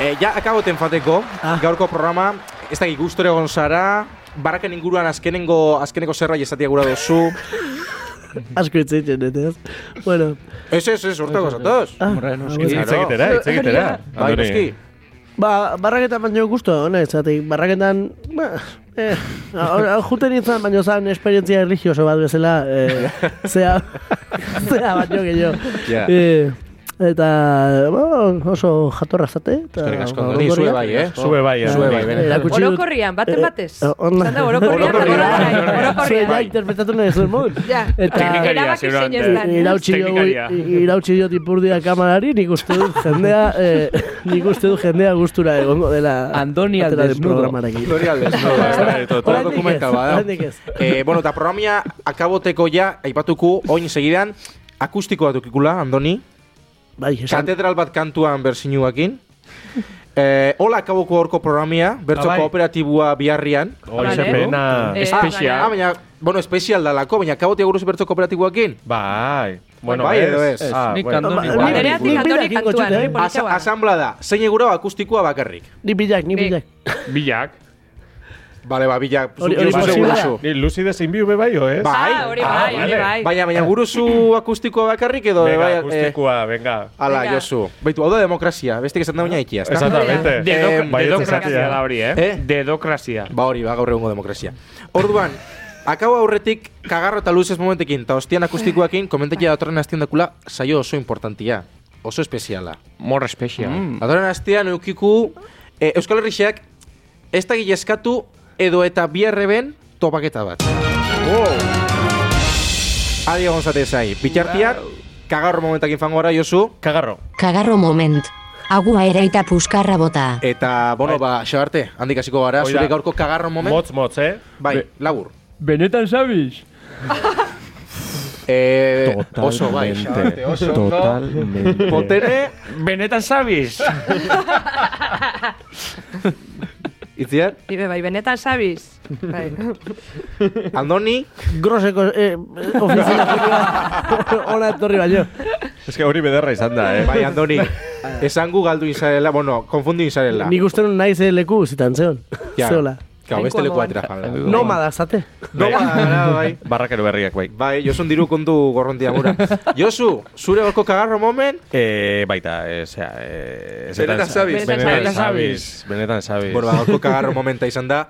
[SPEAKER 2] eh, ja akaboten fateko, gaurko programa, ez da gustore egon zara, barraken inguruan azkenengo, azkeneko zerbait esatia gura duzu.
[SPEAKER 11] Asko hitz egiten dut, ez? Bueno.
[SPEAKER 2] Ez, ez, ez, hortako zatoz.
[SPEAKER 11] Ah,
[SPEAKER 2] Hombre, noski.
[SPEAKER 11] ah,
[SPEAKER 2] Hitz egitera, hitz egitera, Bai, Andoni. noski.
[SPEAKER 11] Ba, barraketan baino gustu ona, ezatik, barraketan, ba, eh, ahora, juten nintzen, baino zan esperientzia religioso bat bezala, eh, zea, zea baino gehiago.
[SPEAKER 2] Ja.
[SPEAKER 11] Eh, eta, ba, oso jatorra zate. eta
[SPEAKER 2] Eskerrik asko,
[SPEAKER 11] orokorria.
[SPEAKER 2] Andoni, zue bai, eh? Zue bai, Zue bai, benetan.
[SPEAKER 11] Erakutsi dut-
[SPEAKER 5] Orokorrian, baten
[SPEAKER 11] Eh,
[SPEAKER 5] batez.
[SPEAKER 11] eh, onda.
[SPEAKER 5] Izan da orokorrian, eta orokorrian.
[SPEAKER 11] Zue
[SPEAKER 5] Orokorrian.
[SPEAKER 11] ja interpretatu nahi zuen modun.
[SPEAKER 5] Ja.
[SPEAKER 11] Eta,
[SPEAKER 5] Teknikaria, seguramente.
[SPEAKER 11] I- Irautsi diogu,
[SPEAKER 5] Teknikaria.
[SPEAKER 11] i- irautsi diot ipurdia kamarari, nik uste dut jendea, eh, nik uste dut jendea gustura egongo dela.
[SPEAKER 6] Andoni
[SPEAKER 11] atera den
[SPEAKER 6] Aldesnudo.
[SPEAKER 11] programarekin.
[SPEAKER 2] Andoni Aldesnudo, ez da, eto- todo
[SPEAKER 11] Oraindik
[SPEAKER 2] dokumental
[SPEAKER 11] ez,
[SPEAKER 2] bada.
[SPEAKER 11] oraindik ez.
[SPEAKER 2] Eh, bueno, eta programia akaboteko ja, aipatuko, oin segidan, akustiko bat dukikula, Andoni.
[SPEAKER 11] Bai,
[SPEAKER 2] esan. Katedral bat kantuan bersinuakin. Eh, hola akaboko horko programia, bertso
[SPEAKER 10] Ah, bai.
[SPEAKER 2] kooperatiboa biharrian.
[SPEAKER 10] Oh, Vale. ese pena. Eh, Espezial.
[SPEAKER 2] Ah, baina, bueno, espezial dalako, baina akabote guruz bertso kooperatiboakin.
[SPEAKER 10] Bai. Bueno,
[SPEAKER 2] bai,
[SPEAKER 10] ez.
[SPEAKER 2] edo ez.
[SPEAKER 10] Ez, Ah, nik bueno. Andoni
[SPEAKER 2] Ba-
[SPEAKER 10] bai.
[SPEAKER 2] nik-
[SPEAKER 5] Nereatik
[SPEAKER 2] nik-
[SPEAKER 5] Andoni
[SPEAKER 2] nik-
[SPEAKER 5] kantuan,
[SPEAKER 2] nik-
[SPEAKER 5] eh,
[SPEAKER 2] Asa-
[SPEAKER 5] politxoa.
[SPEAKER 2] Asamblea da, zein egura akustikoa bakarrik.
[SPEAKER 11] Ni bilak, ni bilak.
[SPEAKER 3] Bilak.
[SPEAKER 2] Bale, ba, bilak.
[SPEAKER 10] Hori- hori posiblea. bai, Ni Lucide zein biu bebai, o ez?
[SPEAKER 2] Bai,
[SPEAKER 10] Ah, vale.
[SPEAKER 2] Baina, baina guruzu akustikoa bakarrik edo...
[SPEAKER 10] Venga,
[SPEAKER 2] bai, eh,
[SPEAKER 10] akustikoa, venga.
[SPEAKER 2] Ala,
[SPEAKER 10] Venga.
[SPEAKER 2] Josu. Baitu, hau da demokrazia. Beste esan da baina ikia, ezta?
[SPEAKER 10] Exactamente.
[SPEAKER 2] Eh,
[SPEAKER 10] Dedo-
[SPEAKER 2] baietz
[SPEAKER 10] dedokrazia
[SPEAKER 2] esatea.
[SPEAKER 10] da hori, eh?
[SPEAKER 3] Dedokrazia.
[SPEAKER 2] Ba hori, ba gaur egungo demokrazia. Orduan, akabo aurretik kagarro eta luzez momentekin, eta hostian akustikoakin, komentakia datorren hastean dakula saio oso importantia. Oso espeziala.
[SPEAKER 3] More special.
[SPEAKER 2] Datorren hastean eukiku eh, Euskal Herrixeak ez da eskatu edo eta biherreben topaketa bat. Adi egon zatez zai. Bitartian, kagarro momentakin fango gara, Josu. Kagarro.
[SPEAKER 14] Kagarro moment. Agua ere eta puskarra bota.
[SPEAKER 2] Eta, bueno, ba, xo arte, handik hasiko gara,
[SPEAKER 14] Hoi da.
[SPEAKER 2] zure gaurko kagarro moment.
[SPEAKER 10] Motz, motz, eh?
[SPEAKER 2] Bai, labur.
[SPEAKER 6] Benetan sabiz?
[SPEAKER 2] Eh, oso, bai, xo arte, oso. ondo. Potere.
[SPEAKER 3] Benetan sabiz.
[SPEAKER 2] Itziar.
[SPEAKER 5] Ibe bai, benetan sabiz. Bai.
[SPEAKER 2] Andoni.
[SPEAKER 11] Groseko eh, ofizina ona etorri baino.
[SPEAKER 2] Es que hori bederra izan da, eh? Bai, Andoni, esan gu galdu izarela, bueno, konfundu izarela.
[SPEAKER 11] Nik uste nun naiz eh, leku zitan zeon.
[SPEAKER 2] Ja.
[SPEAKER 11] Zeola.
[SPEAKER 2] Kau, beste leku atera
[SPEAKER 11] Nomada zate.
[SPEAKER 2] bai.
[SPEAKER 10] Barrakero berriak, bai.
[SPEAKER 2] Bai, Josun diru kontu gorrontia gura. Josu, zure gorko kagarro moment?
[SPEAKER 10] Eh, baita, eh, osea, eh, ez
[SPEAKER 2] Benetan
[SPEAKER 10] eta-
[SPEAKER 2] zabiz.
[SPEAKER 10] Benetan
[SPEAKER 2] Benetan
[SPEAKER 10] zabiz.
[SPEAKER 2] zabiz.
[SPEAKER 10] Benetan zabiz.
[SPEAKER 2] Bueno, ba, gorko kagarro momenta izan da,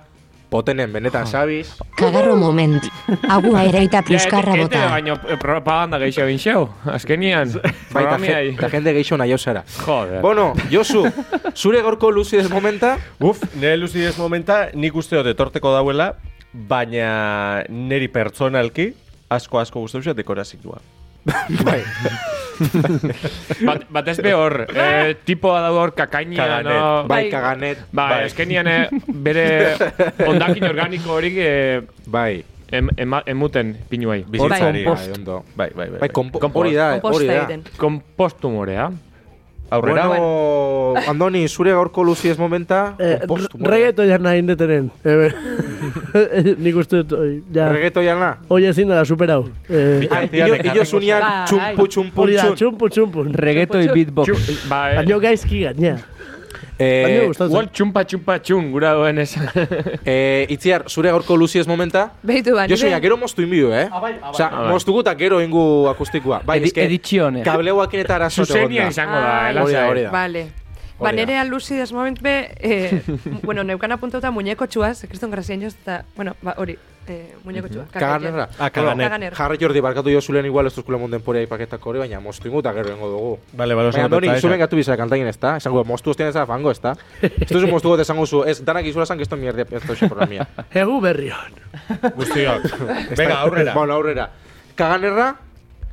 [SPEAKER 2] potenen benetan sabiz.
[SPEAKER 14] Kagarro moment. Agua ere eta puskarra
[SPEAKER 3] Ja, et-
[SPEAKER 14] bota.
[SPEAKER 3] ete baino eh, propaganda gehiago egin xeu. Azkenian,
[SPEAKER 2] Bai, ta
[SPEAKER 3] programia
[SPEAKER 2] gen- ta jende gehiago nahi zara.
[SPEAKER 3] Joder.
[SPEAKER 2] Bueno, Josu, zure gorko lucidez momenta?
[SPEAKER 10] Uf, nire lucidez momenta nik uste dut etorteko dauela, baina niri pertsonalki asko asko gustatu zait dekorazitua.
[SPEAKER 3] Bat, bat ez behor, eh, tipoa da hor kakainia,
[SPEAKER 10] Kaganet.
[SPEAKER 3] no?
[SPEAKER 2] Bai, kaganet.
[SPEAKER 3] Ba,
[SPEAKER 2] Bai.
[SPEAKER 3] azkenian eh, bere ondakin organiko horik eh,
[SPEAKER 2] bai.
[SPEAKER 3] Em, ema- emuten pinuei.
[SPEAKER 10] Bizitzari,
[SPEAKER 3] Kompost.
[SPEAKER 10] bai, ondo. Bai, bai, bai,
[SPEAKER 3] Bai,
[SPEAKER 10] bai.
[SPEAKER 3] kompo-
[SPEAKER 10] Komposta
[SPEAKER 3] hori da,
[SPEAKER 2] hori da. egiten.
[SPEAKER 3] Kompostumorea.
[SPEAKER 2] Aurrera, bai.
[SPEAKER 3] Bueno,
[SPEAKER 2] bueno, Andoni, zure gaurko lucidez momenta?
[SPEAKER 11] Eh,
[SPEAKER 2] Kompostu, bueno.
[SPEAKER 11] Regeto jan nahi indetenen. Eh, eh, Nik uste dut, oi, ja.
[SPEAKER 2] Regeto jana?
[SPEAKER 11] Hoi ezin dara superau. Eh,
[SPEAKER 2] Ah, Illosunean txumpu, txumpu,
[SPEAKER 11] Hori da,
[SPEAKER 2] txumpu.
[SPEAKER 11] txumpu, txumpu.
[SPEAKER 3] Reggaeton
[SPEAKER 11] Txumpu,
[SPEAKER 3] beatbox.
[SPEAKER 11] txumpu.
[SPEAKER 3] Bai.
[SPEAKER 11] Baino gaizki gaina.
[SPEAKER 2] Eh,
[SPEAKER 3] Wal txumpa txumpa txun, gura duen esan.
[SPEAKER 2] eh, itziar, zure gaurko lucidez momenta?
[SPEAKER 5] Beitu ba,
[SPEAKER 2] Yo soy
[SPEAKER 5] nire-
[SPEAKER 2] gero moztu inbidu, eh? Ah, bai, ah, bai.
[SPEAKER 3] Ah, bai.
[SPEAKER 2] moztuko eta gero ingu akustikoa. Bai,
[SPEAKER 6] Edi-
[SPEAKER 2] eske,
[SPEAKER 6] edizione.
[SPEAKER 2] Kableuakin eta arazo egon
[SPEAKER 3] Zuzenia izango da, Ah,
[SPEAKER 2] Hori da, hori da.
[SPEAKER 5] Vale. Ba,
[SPEAKER 2] Hori da.
[SPEAKER 5] nerea lucidez moment be, eh, bueno, neukan apuntauta muñeko txuaz, kriston grazien joz, eta, bueno, ba, hori, eh, muñeko txua.
[SPEAKER 2] Kaganerra.
[SPEAKER 10] Ah, kaganer.
[SPEAKER 5] Kaganer.
[SPEAKER 2] Jarri Jordi, barkatu jo zulen igual ez duzkule munden porea ipaketako hori, baina moztu ingu eta gero ingo dugu.
[SPEAKER 10] Vale, vale, oso
[SPEAKER 2] Baina,
[SPEAKER 10] ondo,
[SPEAKER 2] Andoni,
[SPEAKER 10] eta
[SPEAKER 2] zu
[SPEAKER 10] esa.
[SPEAKER 2] bengatu bizara kantain ez da? Esango, moztu ostien ez da fango ez da? Ez duzu moztu gote esango zu, ez, danak izula esan que esto mierda ez da programia.
[SPEAKER 11] Egu berrion.
[SPEAKER 10] Guztiak. Venga, aurrera.
[SPEAKER 2] Bueno, aurrera. Kaganerra,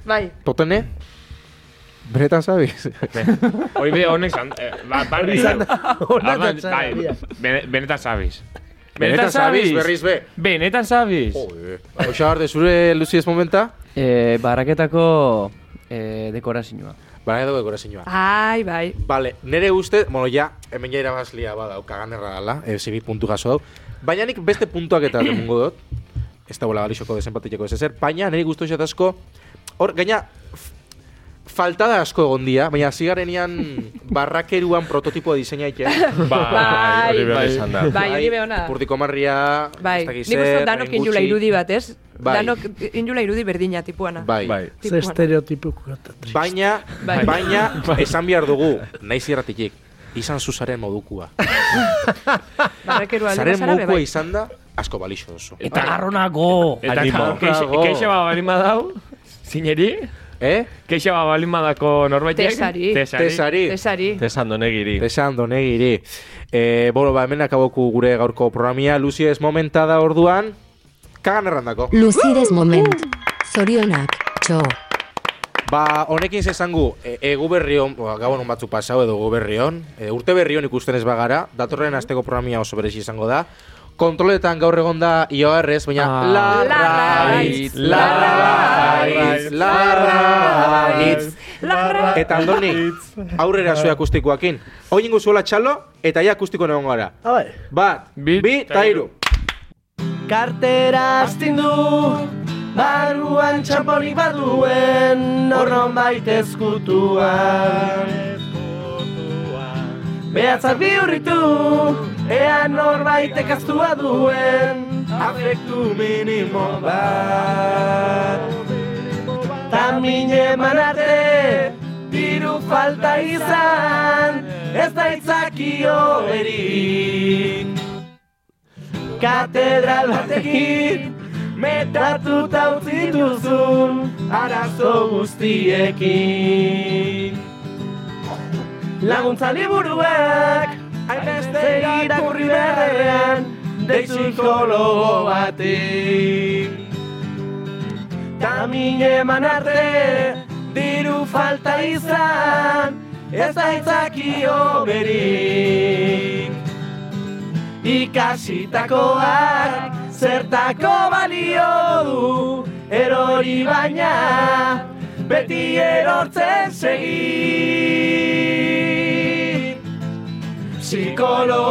[SPEAKER 5] Bai.
[SPEAKER 2] totene, benetan zabiz.
[SPEAKER 3] Hori be, honek zan... eh, Ba, ba,
[SPEAKER 2] Hori izan da, hona
[SPEAKER 3] Ordan,
[SPEAKER 2] datza,
[SPEAKER 3] bai,
[SPEAKER 2] egia.
[SPEAKER 3] bene- Benetan sabiz.
[SPEAKER 2] Benetan sabiz, berriz be.
[SPEAKER 3] Benetan sabiz.
[SPEAKER 2] Joder. Oixar, de zure lucidez momenta?
[SPEAKER 6] Eh, barraketako eh, dekorazinua.
[SPEAKER 2] Banaketa dekorazinua.
[SPEAKER 5] Ai, bai.
[SPEAKER 2] Vale, nere uste, bueno, ja, hemen ja irabazlia badau, kaganerra dala, eh, zibi puntu jaso dau. Baina nik beste puntuak eta remungo dut, ez da bola galixoko desenpatiteko ez ezer, baina nire guztu asko, hor, gaina, f- faltada asko egon dira, baina zigarenian barrakeruan prototipoa diseina ike.
[SPEAKER 5] Bai, hori behar izan da. bai, hori behar ona.
[SPEAKER 2] Ipurdiko marria,
[SPEAKER 5] Bai,
[SPEAKER 2] ez dakit
[SPEAKER 5] nik uste
[SPEAKER 2] zer,
[SPEAKER 5] dut danok
[SPEAKER 2] orain
[SPEAKER 5] injula
[SPEAKER 2] gutxi.
[SPEAKER 5] irudi bat, ez?
[SPEAKER 2] Bai.
[SPEAKER 5] Danok injula irudi berdina, tipuana.
[SPEAKER 2] Bai. Bai.
[SPEAKER 1] Ze
[SPEAKER 5] Tipuana.
[SPEAKER 1] estereotipoko eta triste.
[SPEAKER 2] Baina,
[SPEAKER 5] Bai.
[SPEAKER 2] baina, esan behar dugu, nahi zirratitik, izan zuzaren modukua.
[SPEAKER 5] Barrekeru alde
[SPEAKER 2] Zaren
[SPEAKER 5] bazara, be,
[SPEAKER 2] mokua
[SPEAKER 5] bai.
[SPEAKER 2] izan da, asko balixo duzu.
[SPEAKER 3] Eta
[SPEAKER 2] garronago!
[SPEAKER 3] Eta ka- keixa keixa bat balin badau, zineri?
[SPEAKER 2] Eh?
[SPEAKER 3] Keixa bat balin badako norbaitek?
[SPEAKER 5] Tesari.
[SPEAKER 2] Tesari.
[SPEAKER 5] Tesari.
[SPEAKER 2] Tesan donegiri. Tesan donegiri. Eh, bueno, ba, hemen akaboku gure gaurko programia. Luzi ez momenta da orduan, kagan errandako.
[SPEAKER 14] Lucides moment. Zorionak, txo.
[SPEAKER 2] Ba, honekin zesangu, e, egu berrion, ba, gabon on batzuk pasau edo egu berrion, e, urte berrion ikusten ez bagara, datorren asteko programia oso berezi izango da, kontroletan gaur egon da IORrez, baina ah. larraitz, larraitz, larraitz, Eta andoni, aurrera zue akustikoakin. Hoi ingo zuela txalo, eta ia akustikoan egon gara.
[SPEAKER 11] Ah, bai.
[SPEAKER 1] Abai.
[SPEAKER 2] Bat, bi, eta hiru.
[SPEAKER 1] Kartera astindu, barruan txamponi bat duen, horron baita ezkutuan. Behatzak bihurritu, ea norbaitek aztua duen, afektu minimo bat. Tamin eman arte, diru falta izan, ez da itzakio berik. Katedral batekin Metratuta utzi duzun Arazo guztiekin Laguntza liburuak Hainbeste irakurri berrean Dei psikologo bati Tamin eman arte Diru falta izan Ez da itzakio berik ikasitakoak zertako balio du erori baina beti erortzen segi psikolo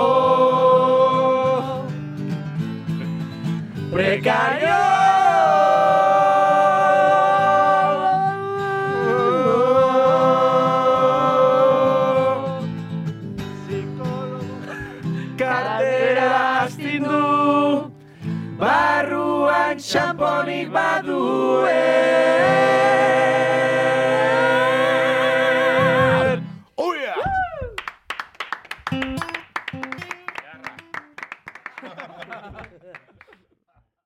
[SPEAKER 1] prekario Kartera astindu Barruan xamponik baduen